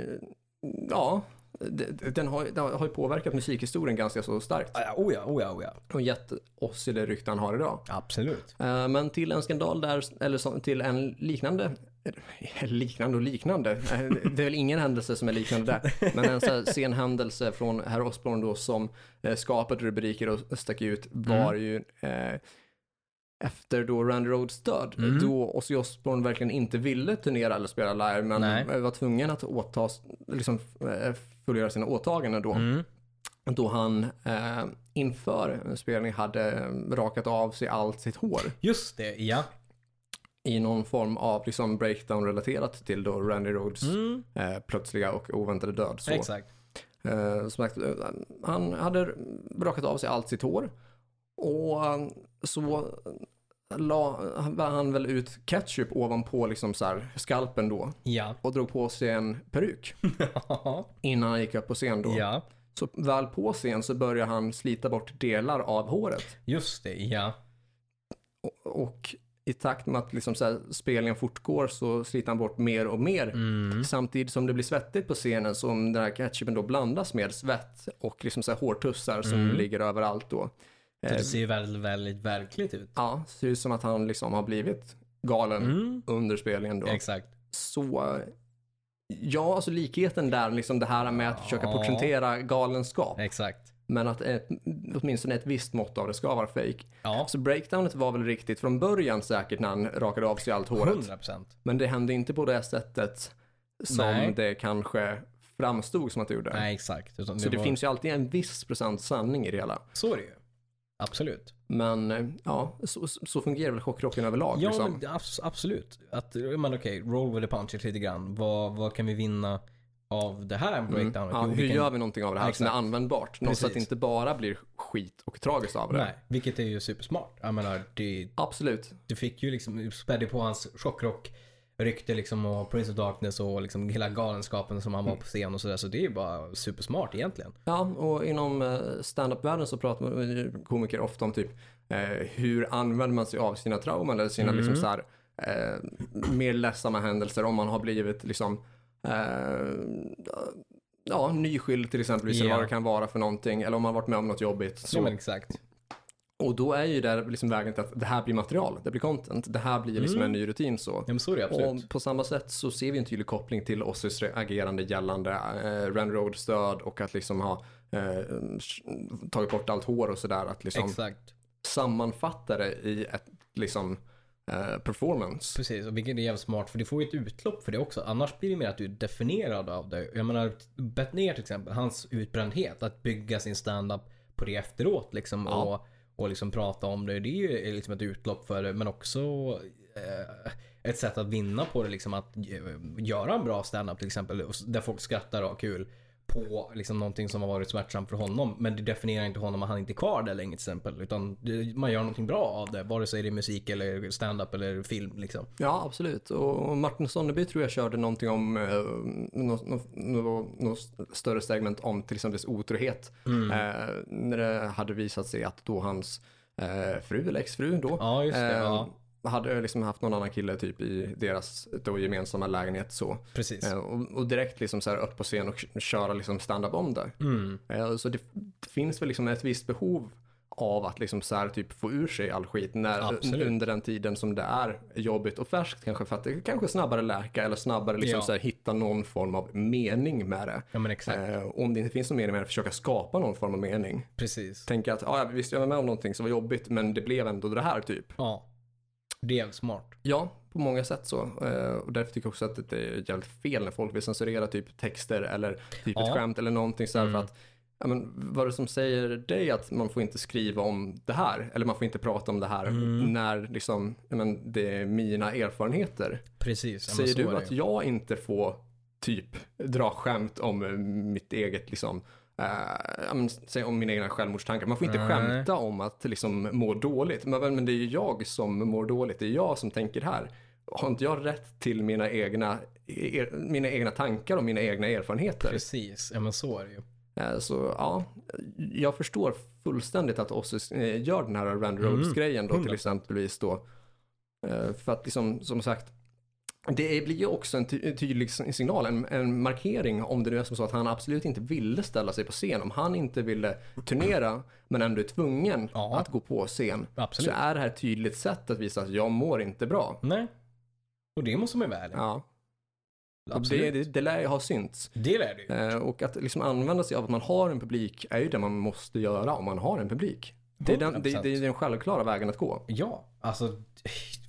ja, d- d- den har, den har ju påverkat musikhistorien ganska så starkt
Ah, ja, Oh ja, oh ja, oh ja.
och gett oss i det rykte han har idag.
Absolut.
Eh, Men till en skandal där, eller som- till en liknande, eh, liknande och liknande, Eh, det är väl ingen händelse som är liknande där, men en sån här sen händelse från herr Osborne då som eh, skapade rubriker och stack ut var ju eh, efter då Randy Rhodes död, då Ozzy Osbourne verkligen inte ville turnera eller spela live, men
Nej.
eh, var tvungen att åta, liksom, eh, fullgöra sina åtaganden då
Mm.
då han eh, inför en spelning hade eh, rakat av sig allt sitt hår
Just det, ja.
i någon form av liksom breakdown relaterat till då Randy Rhodes
Mm.
eh, plötsliga och oväntade död. Så,
Exakt.
eh, som sagt, eh, han hade rakat av sig allt sitt hår och eh, så eh, la han väl ut ketchup ovanpå liksom så här skalpen då
Ja.
och drog på sig en peruk innan han gick upp på scen då.
ja.
Så väl på scen så börjar han slita bort delar av håret.
Just det, ja.
och i takt med att liksom så här, spelningen fortgår så sliter han bort mer och mer.
Mm.
Samtidigt som det blir svettigt på scenen som den här ketchupen då blandas med svett och liksom så här hårtussar som
Mm.
ligger överallt då.
Så det ser ju väldigt, väldigt verkligt ut.
Ja, ser ut som att han liksom har blivit galen
Mm.
under spelningen då.
Exakt.
Så eh, ja, alltså likheten där, liksom det här med att försöka
Ja.
porträttera galenskap.
Exakt.
Men att ett, åtminstone ett visst mått av det ska vara fake.
Ja,
Så breakdownet var väl riktigt från början säkert när han rakade av sig allt håret.
100 procent.
Men det hände inte på det sättet som
Nej.
det kanske framstod som att det gjorde.
Nej, exakt. Utan
Så det
var-
finns ju alltid en viss procent sanning i det hela.
Så är det ju. Absolut.
Men eh, ja, så, så fungerar väl chockrocken överlag.
Ja,
liksom.
men det- abs- absolut. Att, men okej, roll with the punches lite grann. Vad, vad kan vi vinna av det här breakdownet?
Mm. ja,
Jo,
hur
vi kan-
gör vi någonting av det här som är
Exakt.
användbart? Något så att det
Precis.
inte bara blir skit och tragiskt av det.
Nej, vilket är ju supersmart. Jag menar, det,
Absolut.
du fick ju liksom, spädde på hans chockrock rykte liksom och Prince of Darkness och liksom hela galenskapen som han var på scen och sådär. Så det är ju bara supersmart egentligen.
Ja, och inom eh, stand-up-världen så pratar man ju komiker ofta om typ eh, hur använder man sig av sina trauman eller sina liksom
Mm.
så här, eh, mer ledsamma händelser om man har blivit liksom eh, ja, nyskild till exempelvis eller
Ja.
vad det kan vara för någonting eller om man har varit med om något jobbigt. Så,
Ja, men exakt.
Och då är ju där liksom vägen till att det här blir material, det blir content, det här blir liksom en
Mm.
ny rutin så.
Ja, men så är det absolut.
Och på samma sätt så ser vi en tydlig koppling till Ozzys agerande gällande eh, Randy Rhodes död och att liksom ha eh, tagit bort allt hår och sådär. Att liksom
Exakt.
sammanfatta det i ett liksom eh, performance.
Precis, och vilket är jävligt smart för du får ju ett utlopp för det också. Annars blir det mer att du är definierad av det. Jag menar, Bettner till exempel, hans utbrändhet, att bygga sin standup på det efteråt liksom.
Ja.
Och, och liksom prata om det. Det är ju liksom ett utlopp för det, men också eh, ett sätt att vinna på det. Liksom att eh, göra en bra standup till exempel, och s- där folk skrattar och har kul på liksom någonting som har varit smärtsamt för honom. Men det definierar inte honom att han inte är kvar där länge till exempel. Utan det, man gör någonting bra av det. Vare sig det är musik eller stand-up eller film liksom.
Ja, absolut. Och Martin Sonneby tror jag körde någonting om eh, något nå, nå, nå större segment om till exempel otrohet.
Mm.
Eh, när det hade visat sig att då hans eh, fru eller exfru då
Ja, just det.
Eh,
ja,
Hade liksom haft någon annan kille typ i deras då gemensamma lägenhet så.
precis.
Eh, och, och direkt liksom så här upp på scen och k- köra liksom stand-up om det.
Mm.
Eh, så det, det finns väl liksom ett visst behov av att liksom så här, typ få ur sig all skit när,
Absolut.
under den tiden som det är jobbigt och färskt kanske för att det kanske snabbare läka eller snabbare liksom
Ja.
så här, hitta någon form av mening med det.
Ja men exakt.
Eh, och om det inte finns någon mening med det, försöka skapa någon form av mening.
Precis.
Tänka att ah, ja, visst jag var med om någonting som var jobbigt men det blev ändå det här typ.
Ja. Det är jävligt smart.
Ja, på många sätt så. Eh, och därför tycker jag också att det är jävligt fel när folk vill censurera typ texter eller typ
Ja.
ett skämt eller någonting så här
Mm.
för att Ja, men vad är det som säger dig att man får inte skriva om det här? Eller man får inte prata om det här
Mm.
när liksom, ja, men det är mina erfarenheter.
Precis. Ja, men
Säger
så är
du
det
att
ju.
jag inte får typ dra skämt om eh, mitt eget liksom, eh, ja, men, säg om mina egna självmordstankar. Man får inte
Nej.
skämta om att liksom må dåligt. Men, men det är ju jag som mår dåligt. Det är jag som tänker här. Har inte jag rätt till mina egna, er, mina egna tankar och mina egna erfarenheter?
Precis. Ja men så är det ju.
Eh, Så ja, jag förstår fullständigt att Ossis eh, gör den här Randy Rhodes-grejen då till
Mm. Hundra.
exempelvis då. Eh, För att liksom, som sagt, det blir ju också en ty- tydlig s- signal, en, en markering om det nu är som så att han absolut inte ville ställa sig på scen. Om han inte ville turnera men ändå är tvungen
Ja.
att gå på scen
Absolut.
så är det här ett tydligt sätt att visa att jag mår inte bra.
Nej. Och det måste man ju vara ärlig.
Ja, och
Absolut.
det, det, det lär ju ha synts.
Det lär du ju.
Eh, Och att liksom använda sig av att man har en publik är ju det man måste göra om man har en publik. Det är den, det,
100%.
det är den självklara vägen att gå.
Ja, alltså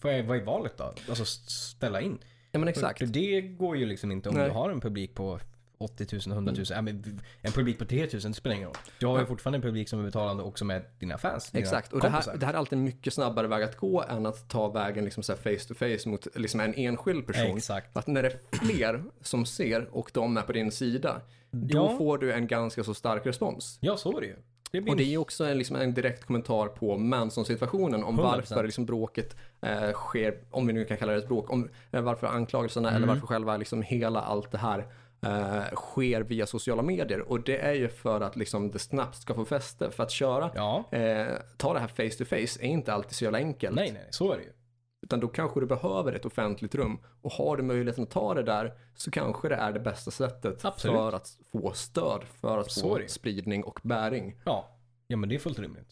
vad är, vad är valet då? Alltså s- ställa in.
Ja men
För-
exakt.
För det går ju liksom inte om
Nej. Mm.
du har en publik på 80 000, 100 000, ja, men en publik på 3 000, det spelar ingen roll. Du har ju fortfarande en publik som är betalande och som är dina fans. Dina
Exakt, och det här,
kompisar.
det här är alltid en mycket snabbare väg att gå än att ta vägen liksom så här face to face mot liksom en enskild person.
Exakt.
För att när det är fler som ser och de är på din sida, då
Ja.
får du en ganska så stark respons.
Ja, så är det ju. Det blir
Och det är ju också en, liksom en direkt kommentar på Manson-situationen om
100%.
varför liksom bråket eh, sker, om vi nu kan kalla det ett bråk, om, eh, varför anklagelserna
Mm.
eller varför själva liksom hela allt det här eh, sker via sociala medier. Och det är ju för att liksom det snabbt ska få fäste. För att köra,
Ja,
eh, ta det här face to face är inte alltid så jävla enkelt.
nej, nej, så är det ju.
Utan då kanske du behöver ett offentligt rum. Och har du möjligheten att ta det där så kanske det är det bästa sättet
Absolut.
för att få stöd, för att
Så är
få
det ju.
spridning och bäring.
Ja, ja men det är fullt rimligt.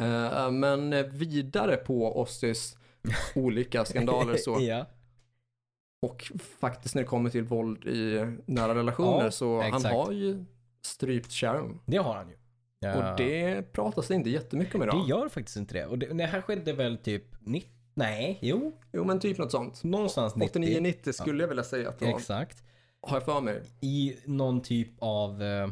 Eh, Men eh, vidare på Ossis olika skandaler så.
ja,
Och faktiskt när det kommer till våld i nära relationer
Ja,
så
exakt.
han har ju strypt Sharon.
det har han ju. Ja.
Och det pratas det inte jättemycket om
det
idag.
gör faktiskt inte det. Och det, det här skedde väl typ 90, nej, jo,
Jo men typ något sånt.
någonstans 90.
89-90 skulle jag vilja säga att det var.
Exakt.
Har jag för mig.
i någon typ av eh,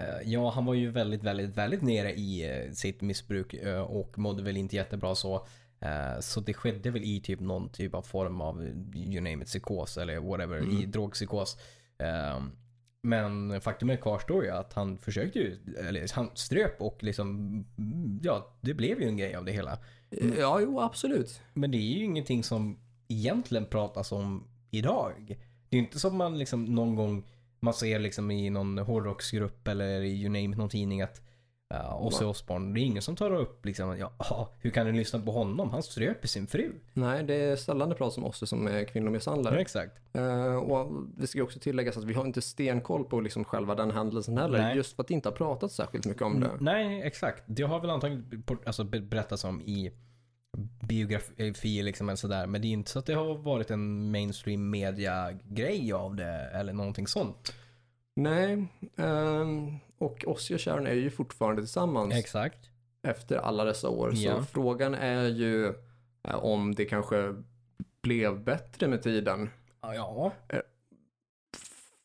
eh, Ja, han var ju väldigt, väldigt, väldigt nere i eh, sitt missbruk eh, och mådde väl inte jättebra så. Eh, Så det skedde väl i typ någon typ av form av you name it psykos eller whatever, i drogpsykos. Eh, Men faktumet kvarstår ju att han försökte ju, eller han ströp och liksom, ja det blev ju en grej av det hela.
Ja, jo absolut.
Men det är ju ingenting som egentligen pratas om idag. Det är ju inte som man liksom någon gång man ser liksom i någon hårdrocksgrupp eller i you name it, någon tidning att uh, Ozzy Osbourne, det är ingen som tar upp liksom ja, ah, hur kan du lyssna på honom? Han ströp ju sin fru.
Nej, det är sällan det pratas om Ossi som är kvinnomisshandlare.
exakt.
Eh, och det ska ju också tilläggas att vi har inte stenkoll på liksom själva den händelsen heller.
Nej. Mm.
Just för att det inte har pratats särskilt mycket om det.
Nej, exakt. Det har väl antagligen por- alltså, be- berättats om i biografier liksom eller sådär. Men det är ju inte så att det har varit en mainstream media grej av det eller någonting sånt.
Nej, ehm, och Ozzy och Sharon är ju fortfarande tillsammans
Exakt.
efter alla dessa år.
Ja.
Så frågan är ju eh, om det kanske blev bättre med tiden.
Ja,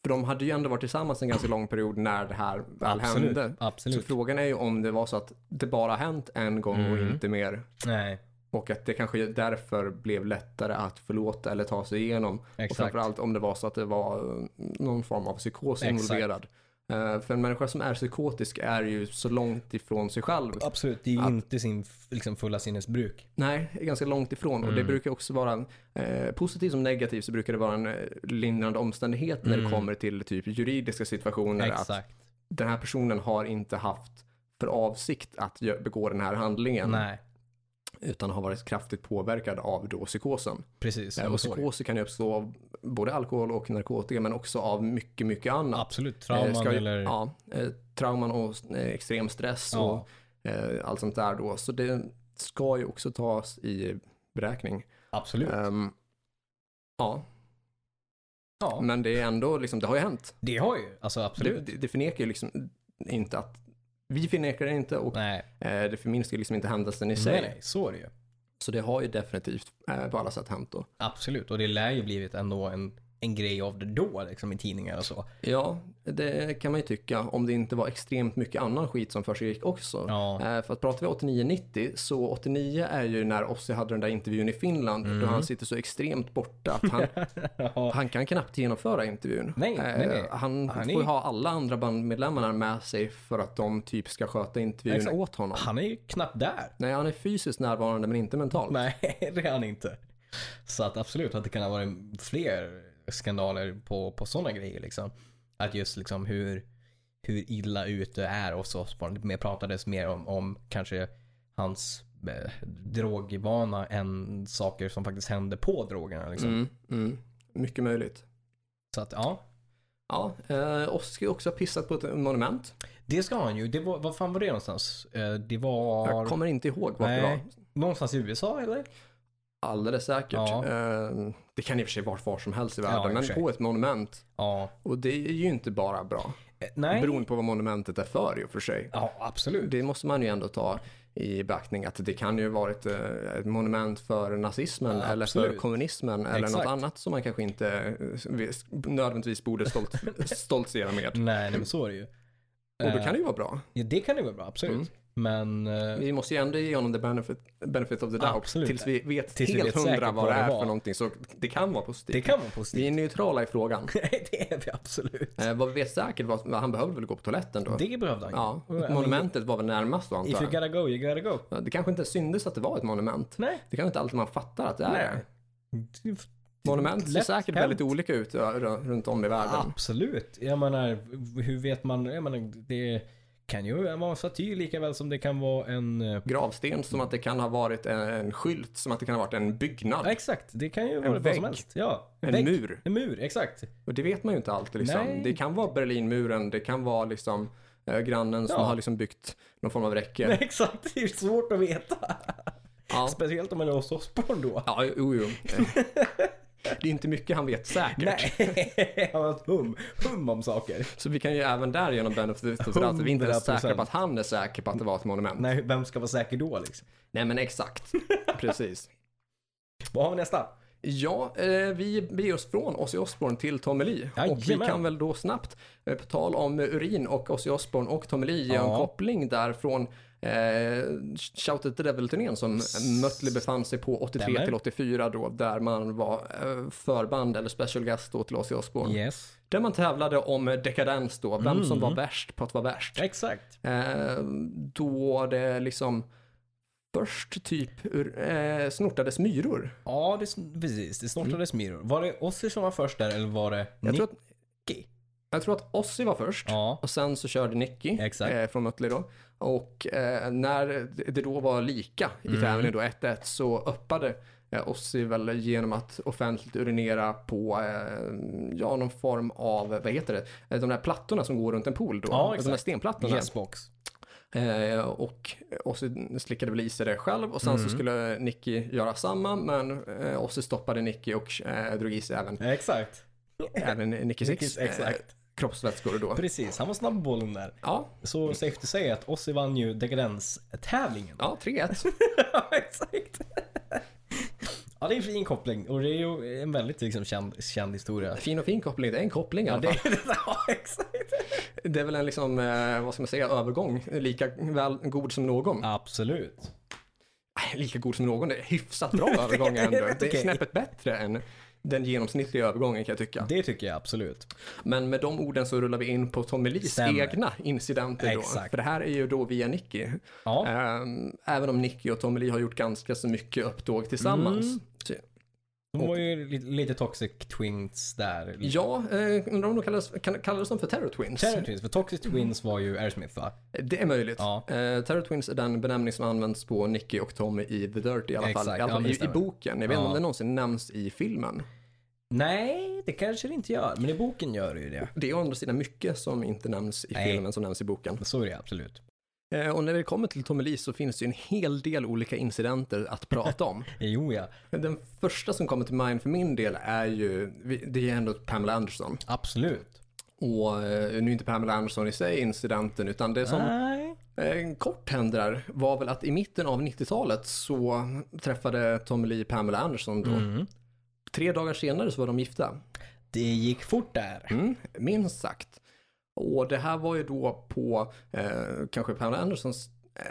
För de hade ju ändå varit tillsammans en ganska lång period när det här väl
absolut.
hände. Så
Absolut.
frågan är ju om det var så att det bara hänt en gång och
Mm.
inte mer.
Nej,
Och att det kanske därför blev lättare att förlåta eller ta sig igenom. Och
exakt.
framförallt om det var så att det var eh, någon form av psykos
Exakt.
involverad. Eh, För en människa som är psykotisk är ju så långt ifrån sig själv.
Absolut, det är ju
Att-
inte sin f- liksom, fulla sinnesbruk.
Nej, är ganska långt ifrån. Och det
Mm.
brukar också vara, eh, positivt som negativt så brukar det vara en eh, lindrande omständighet när det kommer till typ juridiska situationer. Att
Mm. Exakt.
den här personen har inte haft för avsikt att gö- begå den här handlingen.
Nej,
Utan har varit kraftigt påverkad av då psykosen.
precis.
Eh,
Jag
Och
förstår det.
psykoser kan ju uppstå av både alkohol och narkotika men också av mycket, mycket annat.
Absolut,
Eh,
trauman
ska ju-
eller...
Ja, eh, trauman och eh, extrem stress
Ja.
och eh, allt sånt där då. Så det ska ju också tas i beräkning.
Absolut.
Ehm, ja,
ja,
men det är ändå liksom, det har ju hänt.
det har ju. Alltså
Det,
absolut.
det, det förnekar ju liksom inte att, vi förnekar det inte och
nej,
eh, det förminskar ju liksom inte händelsen i sig.
nej, nej, så är det ju.
Så det har ju definitivt eh, på alla sätt hänt då.
Absolut. Och det lär ju blivit ändå en, en grej av det då, liksom i tidningar och så.
Ja, det kan man ju tycka om det inte var extremt mycket annan skit som försiggick också.
Ja.
Eh, För att pratar vi 89-90 så 89 är ju när Ossi hade den där intervjun i Finland
Mm.
då han sitter så extremt borta att han, han kan knappt genomföra intervjun.
Nej,
Eh,
nej, nej.
Han,
Han
får
är-
ju ha alla andra bandmedlemmarna med sig för att de typ ska sköta intervjun
Exakt.
åt honom.
Han är ju knappt där.
Nej, han är fysiskt närvarande men inte mentalt.
Nej, det är han inte. Så att absolut att det kan ha varit fler skandaler på, på sådana grejer liksom. Att just liksom hur, hur illa ute är och så. så Det mer pratades mer om, om kanske hans eh, drogvana än saker som faktiskt hände på drogerna liksom.
Mm, mm. Mycket möjligt.
Så att ja,
Ja, eh, Ossi ska ju också ha pissat på ett monument.
det ska han ju. Det var, vad fan var det någonstans? Eh, Det var...
Jag kommer inte ihåg vart det var.
Nej, någonstans i USA eller?
Alldeles säkert.
Ja.
Eh, Det kan i och för sig vara var som helst i
Ja, i och
världen,
för
men
sig.
på ett monument.
Ja.
Och det är ju inte bara bra.
Eh, Nej.
Beroende på vad monumentet är för i och för sig.
Ja, absolut.
Det måste man ju ändå ta i beaktning att det kan ju varit eh, ett monument för nazismen
Ja,
eller för
absolut.
kommunismen eller något
Exakt.
annat som man kanske inte eh, vis- nödvändigtvis borde stolt, stoltsera med.
Nej, nej, men så är det ju.
Och då kan det ju vara bra.
Ja, det kan det vara bra, absolut.
Mm.
Men eh,
Vi måste ju ändå ge honom the benefit, benefit of the doubt.
Absolut.
Tills vi vet
Tills vi
helt
vet säkert
hundra vad det är
var.
för någonting. Så det kan vara positivt.
det kan vara
Vi är
positivt.
neutrala i frågan.
det är vi absolut.
Eh, vad vi vet säkert var att han behövde väl gå på toaletten då.
Det behövde han ju.
ja,
Och, I mean,
monumentet var väl närmast då
If
antar
you
jag.
gotta go, you gotta go.
Ja, Det kanske inte syndes att det var ett monument.
Nej.
Det kanske inte alltid man fattar att det är.
Nej.
Monument ser
Lätt
säkert
hänt.
väldigt olika ut ö, r- runt om i världen.
Absolut. Jag menar, hur vet man? Jag menar, det kan ju vara en staty lika väl som det kan vara en... eh,
Gravsten som att det kan ha varit en, en skylt, som att det kan ha varit en byggnad,
Ja, exakt. Det kan ju vara vad
vägg.
som helst. Ja,
en
vägg.
mur.
En mur, exakt.
Och det vet man ju inte alltid liksom.
Nej.
Det kan vara Berlinmuren, det kan vara liksom eh, grannen som
Ja.
har liksom byggt någon form av räcke.
Exakt, det är ju svårt att veta.
Ja.
Speciellt om man är hos Osborn då.
Ja, jo, jo. Eh, Det är inte mycket han vet säkert.
Nej, han har ett hum, hum om saker.
Så vi kan ju även där genom benefit of the doubt, att vi inte ens är
100%.
säkra på att han är säker på att det var ett monument. Nej,
Nej, vem ska vara säker då liksom?
men exakt. Precis.
Vad har vi nästa?
Ja, eh, vi beger oss från Ozzy Osbourne till Tommy Lee. Och vi
Jajamän.
kan väl då snabbt, eh, på tal om urin och Ozzy Osbourne och Tommy Lee, göra en
Ja.
koppling där från eh, Shout at the Devil-turnén som Mötley befann sig på 83
Stämmer.
till 84 då, där man var eh, förband eller special guest då till Ozzy Osbourne.
Yes.
Där man tävlade om dekadens då, vem som
Mm.
var värst på att vara värst.
Exakt.
Eh, då det liksom först typ ur, eh, snortades myror.
Ja, det, precis. Det snortades myror. Var det Ozzy som var först där eller var det
Jag tror, att,
Nicky?
jag tror att Ozzy var först
Ja.
och sen så körde Nicky
Exakt.
eh, från Mötley då. Och eh, när det då var lika i
Mm.
tävlingen då 1-1 så öppade eh, Ozzy väl genom att offentligt urinera på eh, ja, någon form av, vad heter det, Eh, de där plattorna som går runt en pool då.
Ja, exakt.
De där stenplattorna.
Yesbox.
Eh, och Ossi slickade väl i sig det själv och sen
Mm.
så skulle Nicky göra samma men eh, Ossi stoppade Nicky och eh, drog i sig även,
Exakt.
även Nicky Six eh,
Nickys, exakt.
kroppsvätskor då.
Precis, han var snabb på bollen där.
Ja,
Så safe to say att Ozzy vann ju dekadenstävlingen.
ja 3-1.
Ja, exakt. Ja, det är en fin koppling och det är ju en väldigt liksom, känd, känd historia.
Fin och fin koppling, det är en koppling i alla fall.
Det, ja, exakt.
Det är väl en liksom, eh, vad ska man säga, övergång. Lika väl god som någon.
Absolut.
Nej, Lika god som någon, det är hyfsat bra övergång ändå.
rätt
Det är
okej.
snäppet bättre än den genomsnittliga övergången kan jag tycka.
Det tycker jag absolut.
Men med de orden så rullar vi in på Tommy Lees
Stämmer.
egna incidenter då.
Exakt.
För det här är ju då via Nicky.
Ja.
Ehm, även om Nicky och Tommy Lee har gjort ganska så mycket upptåg tillsammans.
Mm.
Så,
De var ju lite, lite toxic twins där.
ja, eh, undrar om de kallas, kan, kallades de för Terror Twins?
Terror Twins, för Toxic
Mm.
Twins var ju Aerosmith va?
Det är möjligt.
Ja.
Eh, Terror Twins är den benämning som används på Nicky och Tommy i The Dirt i alla
Exakt,
fall. I, alla
ja,
fall
men det
i, i
stämmer.
boken. Jag vet inte
Ja.
om det någonsin nämns i filmen.
Nej, det kanske det inte gör. Men i boken gör det ju det.
Det är å andra sidan mycket som inte nämns i
Nej.
filmen som nämns i boken.
Så är det absolut.
Eh, Och när vi kommer till Tommy så finns det ju en hel del olika incidenter att prata om.
Jo ja,
Den första som kommer till mind för min del är ju, vi- det är ändå Pamela Anderson.
absolut.
Och eh, nu är inte Pamela Anderson i sig incidenten, utan det som
Nej.
eh, kort händer där var väl att i mitten av 90-talet så träffade Tommy Lee Pamela Anderson då.
Mm.
Tre dagar senare så var de gifta.
Det gick fort där.
Mm, minst sagt. Och det här var ju då på eh, kanske Pamela Andersons eh,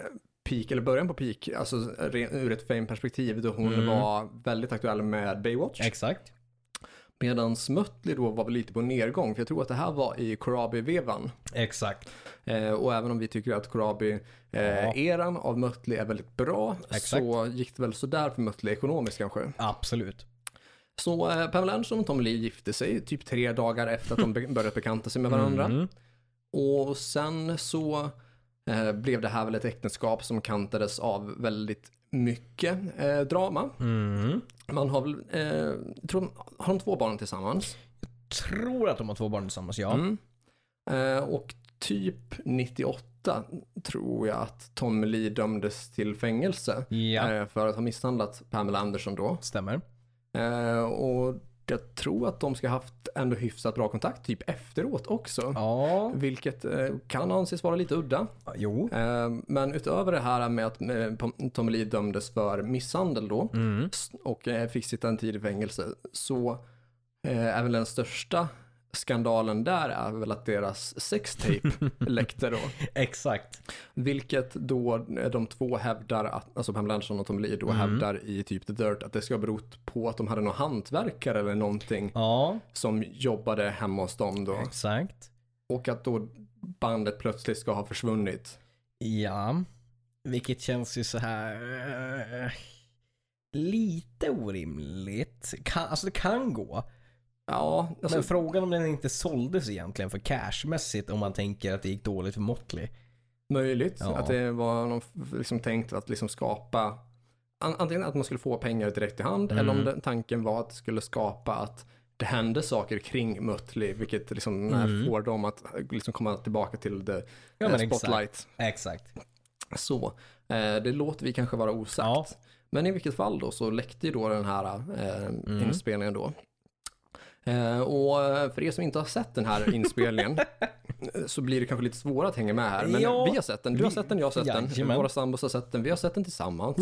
peak, eller början på peak, alltså re- ur ett fame-perspektiv då hon
Mm.
var väldigt aktuell med Baywatch.
Exakt.
Medan Mötley då var väl lite på nedgång, för jag tror att det här var i Corabi-vevan.
Exakt.
Eh, och även om vi tycker att
Ja.
Corabi-eran av Mötley är väldigt bra,
Exakt.
så gick det väl sådär för Mötley ekonomiskt kanske.
Absolut.
Så eh, Pamela Anderson och Tommy Lee gifte sig typ tre dagar efter att de be- börjat bekanta sig med varandra.
Mm.
Och sen så eh, blev det här väl ett äktenskap som kantades av väldigt mycket eh, drama.
Mm.
Man har väl, eh, tror, har de två barn tillsammans?
Tror att de har två barn tillsammans, ja.
Mm. Eh, och typ 98 tror jag att Tom Lee dömdes till fängelse
Ja,
eh, för att ha misshandlat Pamela Anderson då.
stämmer.
Eh, och jag tror att de ska ha haft ändå hyfsat bra kontakt typ efteråt också.
Ja,
Vilket eh, kan anses vara lite udda.
jo.
Eh, Men utöver det här med att eh, Tommy Lee dömdes för misshandel då
Mm.
s- och eh, fick sitta en tid i fängelse så eh, är väl den största skandalen där är väl att deras sextape läckte då.
Exakt.
Vilket då eh, de två hävdar, att, alltså Pamela Anderson och Tommy Lee
Mm.
då hävdar i typ The Dirt att det ska ha berott på att de hade någon hantverkare eller någonting
Ja,
som jobbade hemma hos dem då.
exakt.
Och att då bandet plötsligt ska ha försvunnit.
Ja. Vilket känns ju så här... eh, Lite orimligt. Kan, alltså det kan gå.
Ja, alltså,
Men frågan om den inte såldes egentligen för cashmässigt om man tänker att det gick dåligt för Motley.
Möjligt
Ja.
att det var någon, liksom, tänkt att liksom skapa an- antingen att man skulle få pengar direkt i hand eller
Mm.
om den, tanken var att det skulle skapa att det hände saker kring Mötley vilket liksom eh, får dem att eh, liksom komma tillbaka till the
Mm. Ja,
eh,
men exakt.
spotlight.
Exakt.
Så eh, det låter vi kanske vara osagt.
Ja.
Men i vilket fall då så läckte ju då den här eh,
Mm.
inspelningen då. Eh, och eh, för er som inte har sett den här inspelningen eh, så blir det kanske lite svårare att hänga med här. Men
Ja,
vi har sett den, du har
vi-
sett den, jag har sett den,
Jajamän.
våra sambos har sett den, vi har sett den tillsammans.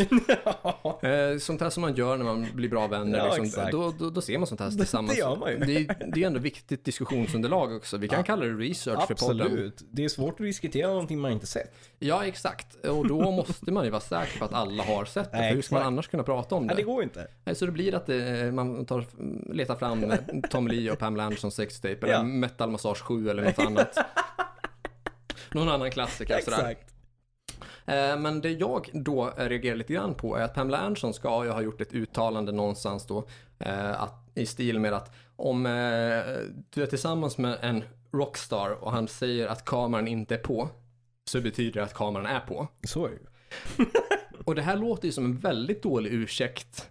Eh, sånt här som man gör när man blir bra vänner,
Ja,
liksom.
exakt.
då, då, då ser man sånt här tillsammans.
det gör man ju.
det, är- det är ändå viktigt diskussionsunderlag också. Vi kan kalla det research för podden.
Absolut. Det är svårt att diskutera någonting man inte sett.
Ja, exakt. Och då måste man ju vara säker på att alla har sett det. För hur ska man
Exakt.
annars kunna prata om
Nej, det
det?
går inte.
Så det blir att eh, man tar, letar fram Tom Lee och Pamela Anderson sextape eller
Ja.
Metal Massage 7 eller något annat. Någon annan klassiker sådär.
Exakt.
Eh, Men det jag då eh, reagerar lite grann på är att Pamela Anderson ska ju ha gjort ett uttalande någonstans då eh, att, i stil med att om eh, du är tillsammans med en rockstar och han säger att kameran inte är på så betyder det att kameran är på.
Så är det ju.
Och det här låter ju som en väldigt dålig ursäkt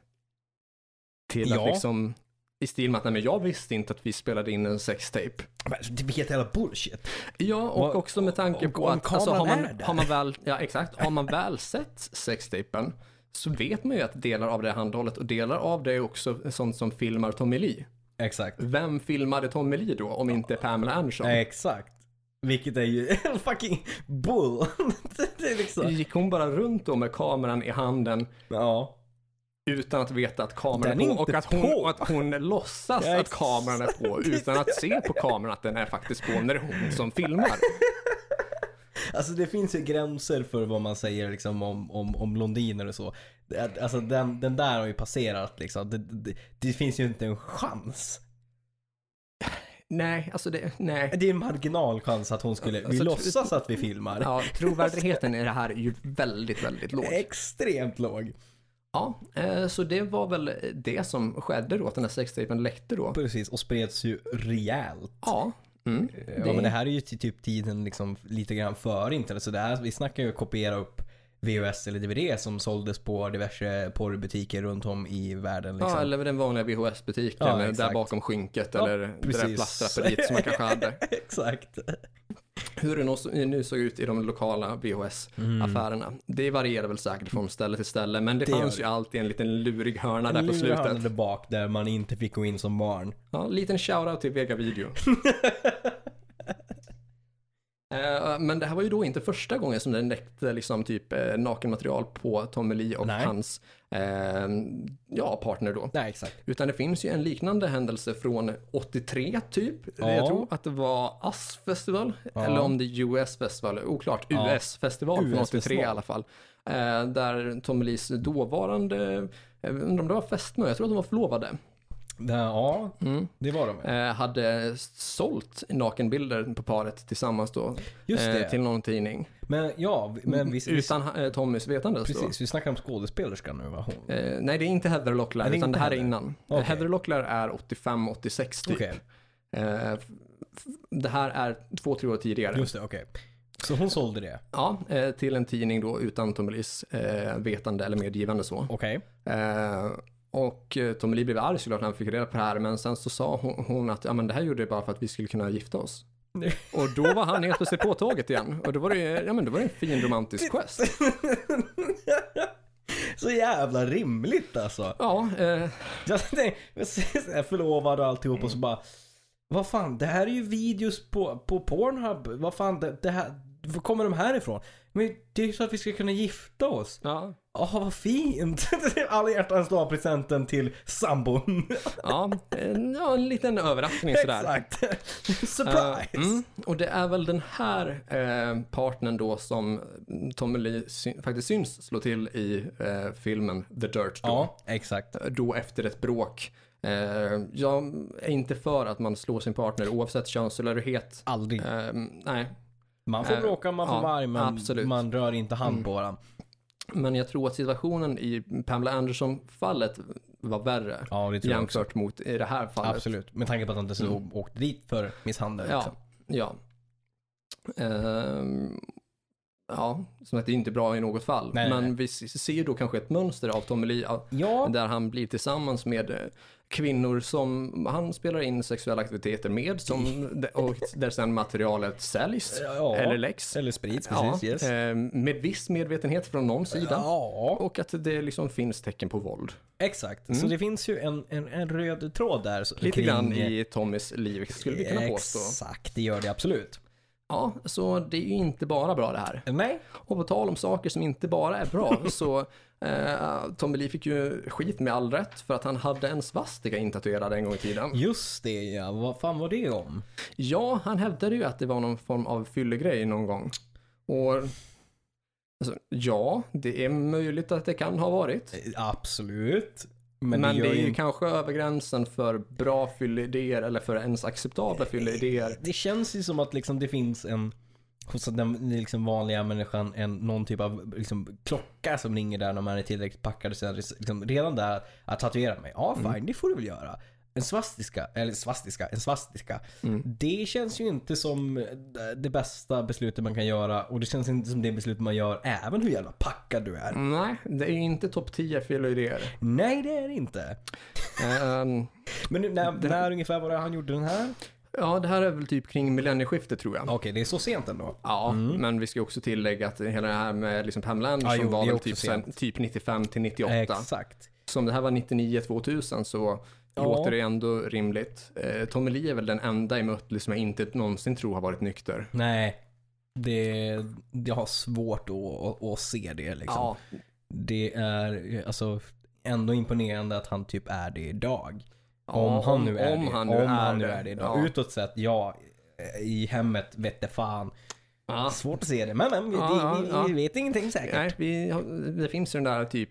till att
Ja.
liksom i stil med att nej men jag visste inte att vi spelade in en sextape.
Men Det blir helt jävla bullshit.
Ja, och
Vad-
också med tanke
om-
på
om
att alltså, har,
kameran
man,
är där.
har man väl, ja exakt, har man väl sett sextapen så vet man ju att delar av det är handhållet och delar av det är också sånt som filmar Tommy Lee.
Exakt.
Vem filmade Tommy Lee då om inte Pamela Anderson?
Exakt. Vilket är ju en fucking bull. det är liksom...
Gick hon bara runt då med kameran i handen
Ja.
utan att veta att kameran
Den
är
är
på och
inte
att hon,
på.
och att hon låtsas
Ja,
att kameran är på utan att se på kameran att den är faktiskt på när det är hon som filmar.
Alltså det finns ju gränser för vad man säger liksom om, om, om blondiner och så. Att- Alltså den, den där har ju passerat liksom. Det, det, det finns ju inte en chans.
Nej, alltså det, nej.
Det är en marginal chans att hon skulle, vi
Alltså,
låtsas att vi filmar.
Ja, trovärdigheten i det här är ju väldigt, väldigt låg.
Extremt låg.
Ja, eh, så det var väl det som skedde då, att den här sextapen läckte då.
Precis, och spreds ju rejält.
Ja, mm,
Ja men det här är ju till typ tiden liksom lite grann före internet. Så det här, vi snackar ju kopiera upp VHS eller DVD som såldes på diverse porrbutiker runt om i världen. Liksom.
ja, eller den vanliga VHS-butiken
Ja,
eh, där
exakt.
bakom skynket
Ja,
eller det där
precis.
plastraperiet som man kanske hade.
Exakt.
Hur det nå- nu såg ut i de lokala VHS-affärerna. Det varierar väl säkert från ställe till ställe, men det,
Det gör
fanns
det.
ju alltid en liten lurig hörna där på
Lurar han
slutet.
där bak där man inte fick gå in som barn.
Ja, liten shoutout till Vega Video. Eh, Men det här var ju då inte första gången som den läckte liksom typ eh, nakenmaterial på Tommy Lee och
Nej.
hans eh, ja, partner då.
Nej, exakt.
Utan det finns ju en liknande händelse från 83 typ.
Ja.
Jag tror att det var ASS festival.
Ja.
Eller om det är US festival. Oklart.
Ja.
US festival från 83
US-festival.
i alla fall. Eh, där Tommy Lees dåvarande, jag undrar om det var fästmö, jag tror att de var förlovade.
Det, ja, det var de.
Eh, hade sålt nakenbilder på paret tillsammans då.
Just
eh,
det.
Till någon tidning.
Men ja, men vi, vi,
Utan eh, Tommys vetandes då.
precis, vi snackar om skådespelerskan nu va? Hon.
Eh, nej, det är inte Heather Locklear,
Nej, det är
utan
inte
det här är
Heather.
innan.
Okej.
Okay. Heather Locklear är 85-86 typ.
Okej.
Eh, f- f- det här är två, tre år tidigare.
Just det, okej. Så hon sålde det?
Ja, eh, till en tidning då utan Tommelis eh, vetande eller medgivande så.
Okej.
Eh, och eh, Tommeli blev arg såklart när han fick reda på det här, men sen så sa hon, hon att ja, men det här gjorde jag bara för att vi skulle kunna gifta oss.
Nej.
Och då var han helt plötsligt på tåget igen. Och då var det, ju- ja, men då var det en fin romantisk gest.
Så jävla rimligt alltså.
Ja, eh,
Jag tänkte, precis, jag är förlovad och alltihop
Mm.
och så bara. Vad fan, det här är ju videos på, på Pornhub. Vad fan, det, det här, var kommer de här ifrån? Men det är ju så att vi ska kunna gifta oss.
ja,
Åh, vad fint! Alla hjärtans dag-presenten till sambon.
ja, eh, ja, en liten överraskning sådär.
Exakt.
Eh,
Surprise!
mm, och det är väl den här eh, partnern då som Tommy Lee syn- faktiskt syns slå till i eh, filmen The Dirt. Då,
Ja, exakt.
då efter ett bråk. Eh, jag är inte för att man slår sin partner oavsett könstillhörighet.
Aldrig.
Eh, nej,
Man får
Eh,
bråka, man får
ja,
vara arg, men
absolut. Mm.
man rör inte hand på varandra.
men jag tror att situationen i Pamela Anderson-fallet var värre
Ja, det tror jag också.
jämfört mot i det här fallet.
Absolut. Med tanke på att han dessutom åkte dit för misshandel.
Ja,
liksom.
ja. Ehm, ja, som att det är inte bra i något fall.
Nej, nej,
men
nej.
vi s- ser ju då kanske ett mönster av Tommy Lee ja,
ja.
där han blir tillsammans med eh, kvinnor som han spelar in sexuella aktiviteter med som, och där sen materialet säljs
Mm. Ja.
eller läcks.
Eller sprits,
Ja,
precis. yes.
ehm, med viss medvetenhet från någon sida.
Eh, Ja,
Och att det liksom finns tecken på våld.
exakt. Så det finns ju en, en, en röd tråd där. så-
Lite
kring- eh,
grann i Tommys liv skulle vi kunna påstå.
Exakt, det gör det absolut.
Ja, så det är ju inte bara bra det här.
Nej,
Och på tal om saker som inte bara är bra så eh, Tommy Lee fick ju skit med all rätt för att han hade en svastika intatuerad en gång i tiden.
just det ja. Vad fan var det om?
Ja, han hävdade ju att det var någon form av fyllegrej någon gång. Och alltså, ja, det är möjligt att det kan ha varit.
Eh, Absolut.
Men,
Men, det,
det,
gör
är ju
inte...
kanske över gränsen för bra fylleidéer eller för ens acceptabla fylleidéer.
Det känns ju som att liksom det finns en hos den liksom vanliga människan en, någon typ av liksom, klocka som ringer där när man är tillräckligt packad. Så liksom, redan där att tatuera mig. Ja, fine, det får du väl göra. En svastiska, eller svastiska, en svastiska. Det känns ju inte som eh, det bästa beslutet man kan göra och det känns inte som det beslut man gör även hur jävla packad du är.
Nej, det är ju inte topp 10 fylleidéer.
Nej, det är det inte.
Ehm,
Men nu- när, när ungefär var det han gjorde den här?
ja, det här är väl typ kring millennieskiftet tror jag.
Okej, det är så sent ändå.
Ja, men vi ska ju också tillägga att hela det här med liksom Pamela Anderson
Mm. jo, det
var
är
väl
också
typ,
sent.
sen, typ 95 till 98.
Exakt.
Så om det här var 99-2000 så
Ja.
låter det ändå rimligt. Eh, Tommy Lee är väl den enda i Mötley som jag inte någonsin tror har varit nykter.
Nej. Det, jag har svårt att, att, att se det liksom.
Ja,
Det är alltså ändå imponerande att han typ är det idag.
Ja,
om han
om-
nu är
om
det.
han
om
nu
han
är
nu
det.
är det idag.
Ja.
Utåt sett, ja. I hemmet vette fan.
ja.
Svårt att se det. Men, men vi,
Ja,
vi,
ja,
vi
ja.
vet ingenting säkert.
Nej, vi, har- det finns ju den där typ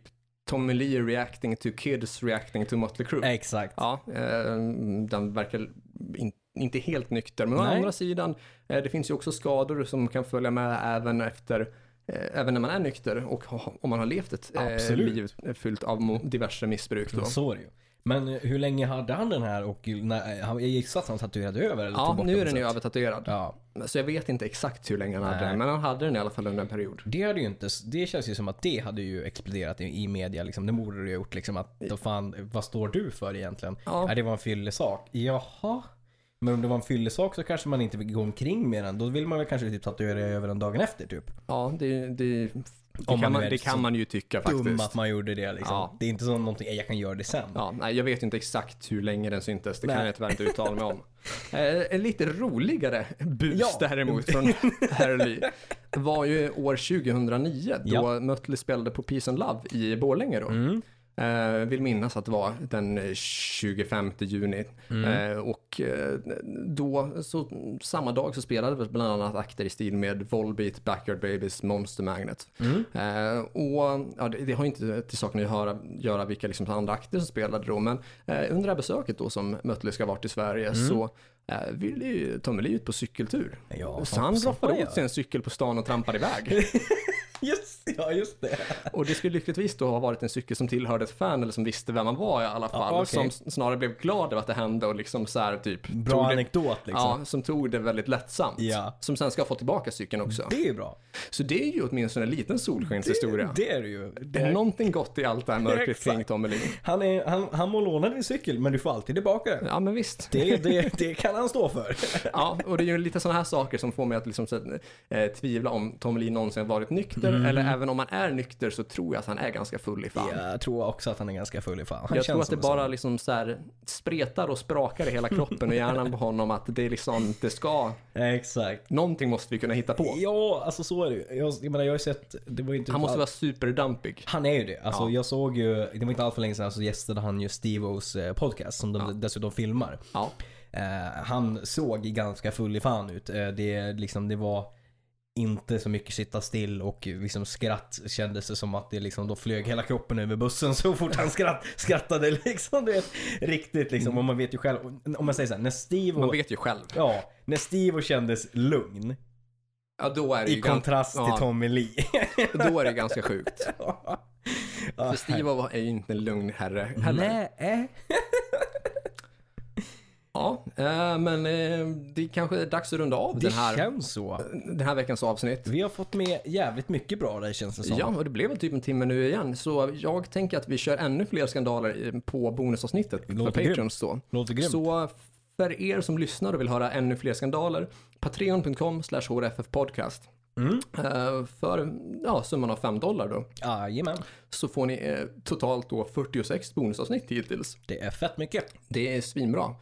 Tommy Lee reacting to kids reacting to Mötley Crüe.
Exakt.
Ja, eh, den verkar in, inte helt nykter. Men å
Nej.
andra sidan, eh, det finns ju också skador som kan följa med även efter eh, Även när man är nykter och ha- om man har levt ett eh,
Absolut.
liv fyllt av mo- diverse missbruk. Då.
Så är det ju. Men eh, hur länge hade han den här och när, eh, han, jag gissar att han tatuerade över eller tog
Ja,
bort
nu
på
är den ju
sätt.
övertatuerad.
Ja.
Så jag vet inte exakt hur länge han hade
Nej.
den, men han hade den i alla fall under en period.
Det hade ju inte, det känns ju som att det hade ju exploderat i, i media liksom. Det borde det ju ha gjort liksom att, då fan, vad står du för egentligen?
Ja.
Ja. det var en fyllesak. Jaha. Men om det var en fyllesak så kanske man inte vill gå omkring med den. Då vill man väl kanske typ tatuera över den dagen efter typ.
Ja, det, det, det,
man
kan,
nu
man,
är
det
så
kan man ju tycka
Dum
faktiskt.
att man gjorde det liksom.
Ja.
Det är inte som någonting, jag kan göra det sen.
Ja, nej, jag vet inte exakt hur länge den syntes, det kan
Nej.
jag tyvärr inte uttala mig om. Eh, en lite roligare bus
Ja.
däremot från Herli var ju år 2009 då
Ja.
Mötley spelade på Peace and Love i Borlänge då.
Mm.
Eh, vill minnas att det var den 25 juni.
Mm.
Eh, och eh, då, så, samma dag så spelade vi bland annat akter i stil med Volbeat, Backyard Babies, Monster Magnet.
Mm.
Eh, och ja, det, det har inte till saken att göra, göra vilka liksom, andra akter som spelade då, men eh, under det här besöket då som Mötley ska ha varit i Sverige
Mm.
så eh, ville ju Tommy Lee ut på cykeltur.
Ja,
så han
som
droppade
fan,
åt sig en cykel på stan och trampade iväg.
Just, ja, just det.
Och det skulle lyckligtvis då ha varit en cykel som tillhörde ett fan eller som visste vem man var i alla fall.
okej.
Som s- snarare blev glad över att det hände och liksom så här typ.
Bra
det,
anekdot liksom.
Ja, som tog det väldigt lättsamt.
Ja.
Som sen ska få tillbaka cykeln också.
Det är ju bra.
Så det är ju åtminstone en liten solskenshistoria.
Det är det ju.
Det är någonting gott i allt det här mörkret
Exakt.
kring Tommelin.
Han, är, han, han må låna din cykel men du får alltid tillbaka den.
Ja men visst.
Det, det, det kan han stå för.
Ja, och det är ju lite sådana här saker som får mig att liksom, så att, eh, tvivla om Tommelin någonsin varit nykter.
Mm.
Eller även om han är nykter så tror jag att han är ganska full i fan.
Jag tror också att han är ganska full i fan. Han
jag tror
känns
att det
som en sån.
bara liksom så här spretar och sprakar i hela kroppen och hjärnan på honom att det är liksom, det ska,
Exakt.
någonting måste vi kunna hitta på.
Ja, alltså så är det ju. Jag, jag menar jag har ju sett, det var ju inte...
Han måste vara superdumpig.
Han är ju det. Alltså,
Ja.
Jag såg ju, det var inte allt för länge sedan, så gästade han ju Steve-Os eh, podcast som de dessutom filmar.
Ja.
Eh, han såg ganska full i fan ut. Eh, det, liksom, det var inte så mycket sitta still och liksom skratt kändes det som att det liksom då flög hela kroppen över bussen så fort han skratt, skrattade liksom. Du vet, riktigt liksom. Och man vet ju själv, om man säger så här, när Steve
Mm. Man
och,
vet ju själv.
ja, när Steve kändes lugn
Ja, då är det
i
ju, ganska,
kontrast till
ja.
Tommy Lee.
då är det ganska sjukt.
Ja,
För Steve var- är ju inte en lugn herre heller.
Nej. eh,
Ja, eh, men eh, det kanske är dags att runda av
Det
den här,
känns så.
den här veckans avsnitt.
Vi har fått med jävligt mycket bra där känns det som.
Ja, och det blev väl typ en timme nu igen. Så jag tänker att vi kör ännu fler skandaler i- på bonusavsnittet för
låter grymt.
Patreons då.
Låter grymt.
Så för er som lyssnar och vill höra ännu fler skandaler, patreon.com slash hrffpodcast. Eh, För ja, summan av 5 dollar då,
Jajamän.
så får ni eh, totalt då 46 bonusavsnitt hittills.
Det är fett mycket.
Det är svinbra.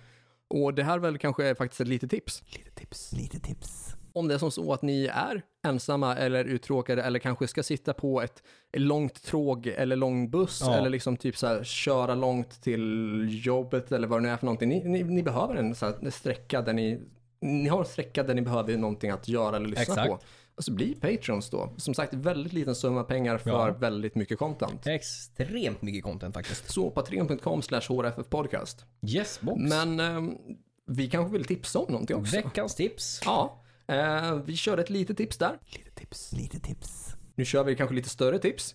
Och det här väl kanske är faktiskt ett litet tips.
Lite tips. Lite tips.
Om det är som så att ni är ensamma eller uttråkade eller kanske ska sitta på ett långt tråg eller lång buss
Ja.
eller liksom typ så här köra långt till jobbet eller vad det nu är för någonting. Ni, ni, ni behöver en så här sträcka där ni, ni har en sträcka där ni behöver någonting att göra eller lyssna
Exakt.
på. Och så bli Patreons då. Som sagt, väldigt liten summa pengar för
Ja.
väldigt mycket content.
Extremt mycket content faktiskt.
Så patreon.com slash hrffpodcast.
Yes box.
Men ehm, vi kanske vill tipsa om någonting också.
Veckans tips.
Ja, eh, vi körde ett litet tips där.
Lite tips. Lite tips.
Nu kör vi kanske lite större tips.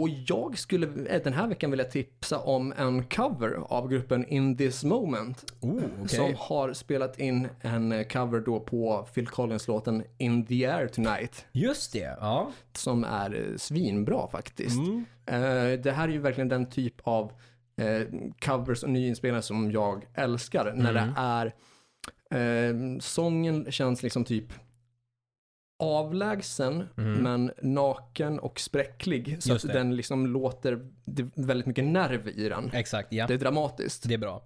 Och jag skulle eh, den här veckan vilja tipsa om en cover av gruppen In This Moment.
Oh, okej.
Som har spelat in en eh, cover då på Phil Collins-låten In The Air Tonight.
Just det. Ja.
Som är eh, svinbra faktiskt.
Mm.
Eh, Det här är ju verkligen den typ av eh, covers och nyinspelningar som jag älskar. När
Mm.
det är, eh, sången känns liksom typ avlägsen men naken och spräcklig. Så
Mm. Just
att
det.
den liksom låter, det är väldigt mycket nerv i den.
Exakt. Ja.
Det
Det,
är dramatiskt.
är bra.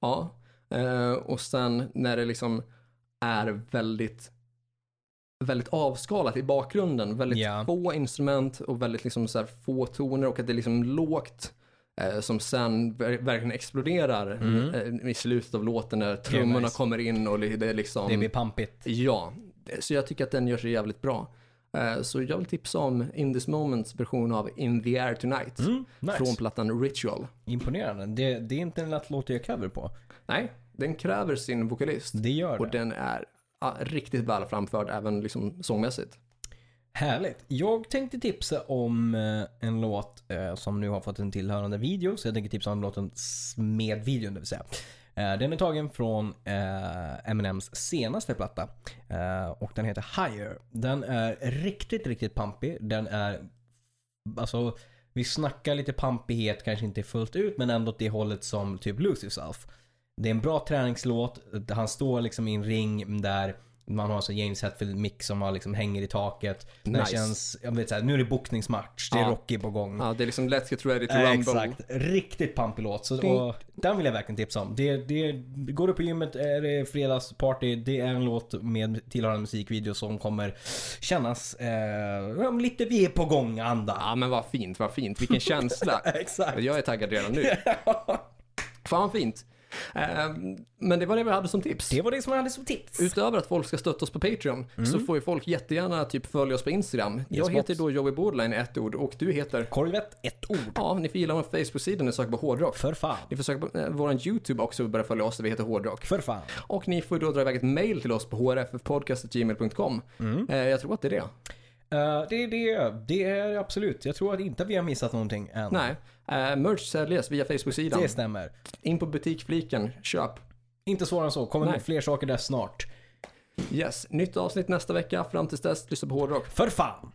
Ja. Eh, och sen när det liksom är väldigt väldigt avskalat i bakgrunden. Väldigt
Ja.
få instrument och väldigt liksom så här få toner och att det är liksom lågt eh, som sen ver- verkligen exploderar
Mm.
eh, i slutet av låten när trummorna
nice.
kommer in och li- det är liksom...
Det blir pampigt.
Ja, så jag tycker att den gör sig jävligt bra. Eh, Så jag vill tipsa om In This Moments version av In The Air Tonight
Mm, nice.
från plattan Ritual.
Imponerande. Det, det är inte en lätt låt att göra cover på.
Nej, den kräver sin vokalist.
Det gör
Och
det.
den är ja, riktigt väl framförd även liksom sångmässigt.
Mm. Härligt. Jag tänkte tipsa om eh, en låt eh, som nu har fått en tillhörande video. Så jag tänker tipsa om låten s- med videon, det vill säga. Eh, Den är tagen från eh, Eminems senaste platta. eh, Och den heter Higher. Den är riktigt, riktigt pampig. Den är... Alltså, vi snackar lite pampighet, kanske inte fullt ut, men ändå åt det hållet som typ Lose Yourself. Det är en bra träningslåt. Han står liksom i en ring där man har så James Hetfield-mick som har liksom hänger i taket. Det
Nice.
känns, jag vet så här, nu är det boxningsmatch. Det är
Ja.
Rocky på gång.
Ja, det är liksom Let's Get Ready to
Eh,
Rumble.
Exakt. Riktigt pampig låt. Så, och, den vill jag verkligen tipsa om. Det, det, går du på gymmet, är det fredagsparty, det är en låt med tillhörande musikvideo som kommer kännas eh, ja, men lite vi är på gång-anda.
Ja, men vad fint, vad fint. Vilken känsla.
Exakt.
Jag är taggad redan nu. Fan vad fint. Eh, Men det var det vi hade som tips.
Det var Mm. det som jag hade som tips.
Utöver att folk ska stötta oss på Patreon så får ju folk jättegärna typ följa oss på Instagram. Jag
boss.
heter då Joey Bordline i ett ord och du heter?
Korvett, ett ord.
Ja, ni får gilla vår Facebook-sida när ni söker på hårdrock.
För fan.
Ni får söka på eh, vår YouTube också och börja följa oss där vi heter hårdrock.
För fan.
Och ni får ju då dra iväg ett mail till oss på hrffpodcast.gmail.com. Eh, Jag tror att det är det.
Eh, det, det, det är absolut. Jag tror att inte vi har missat någonting än.
Nej. Eh, Merch säljes via Facebook-sidan.
Det stämmer.
In på butikfliken, köp.
Inte svårare än så. Kommer
Nej.
fler saker där snart.
Yes, nytt avsnitt nästa vecka. Fram tills dess, lyssna på hårdrock.
För fan.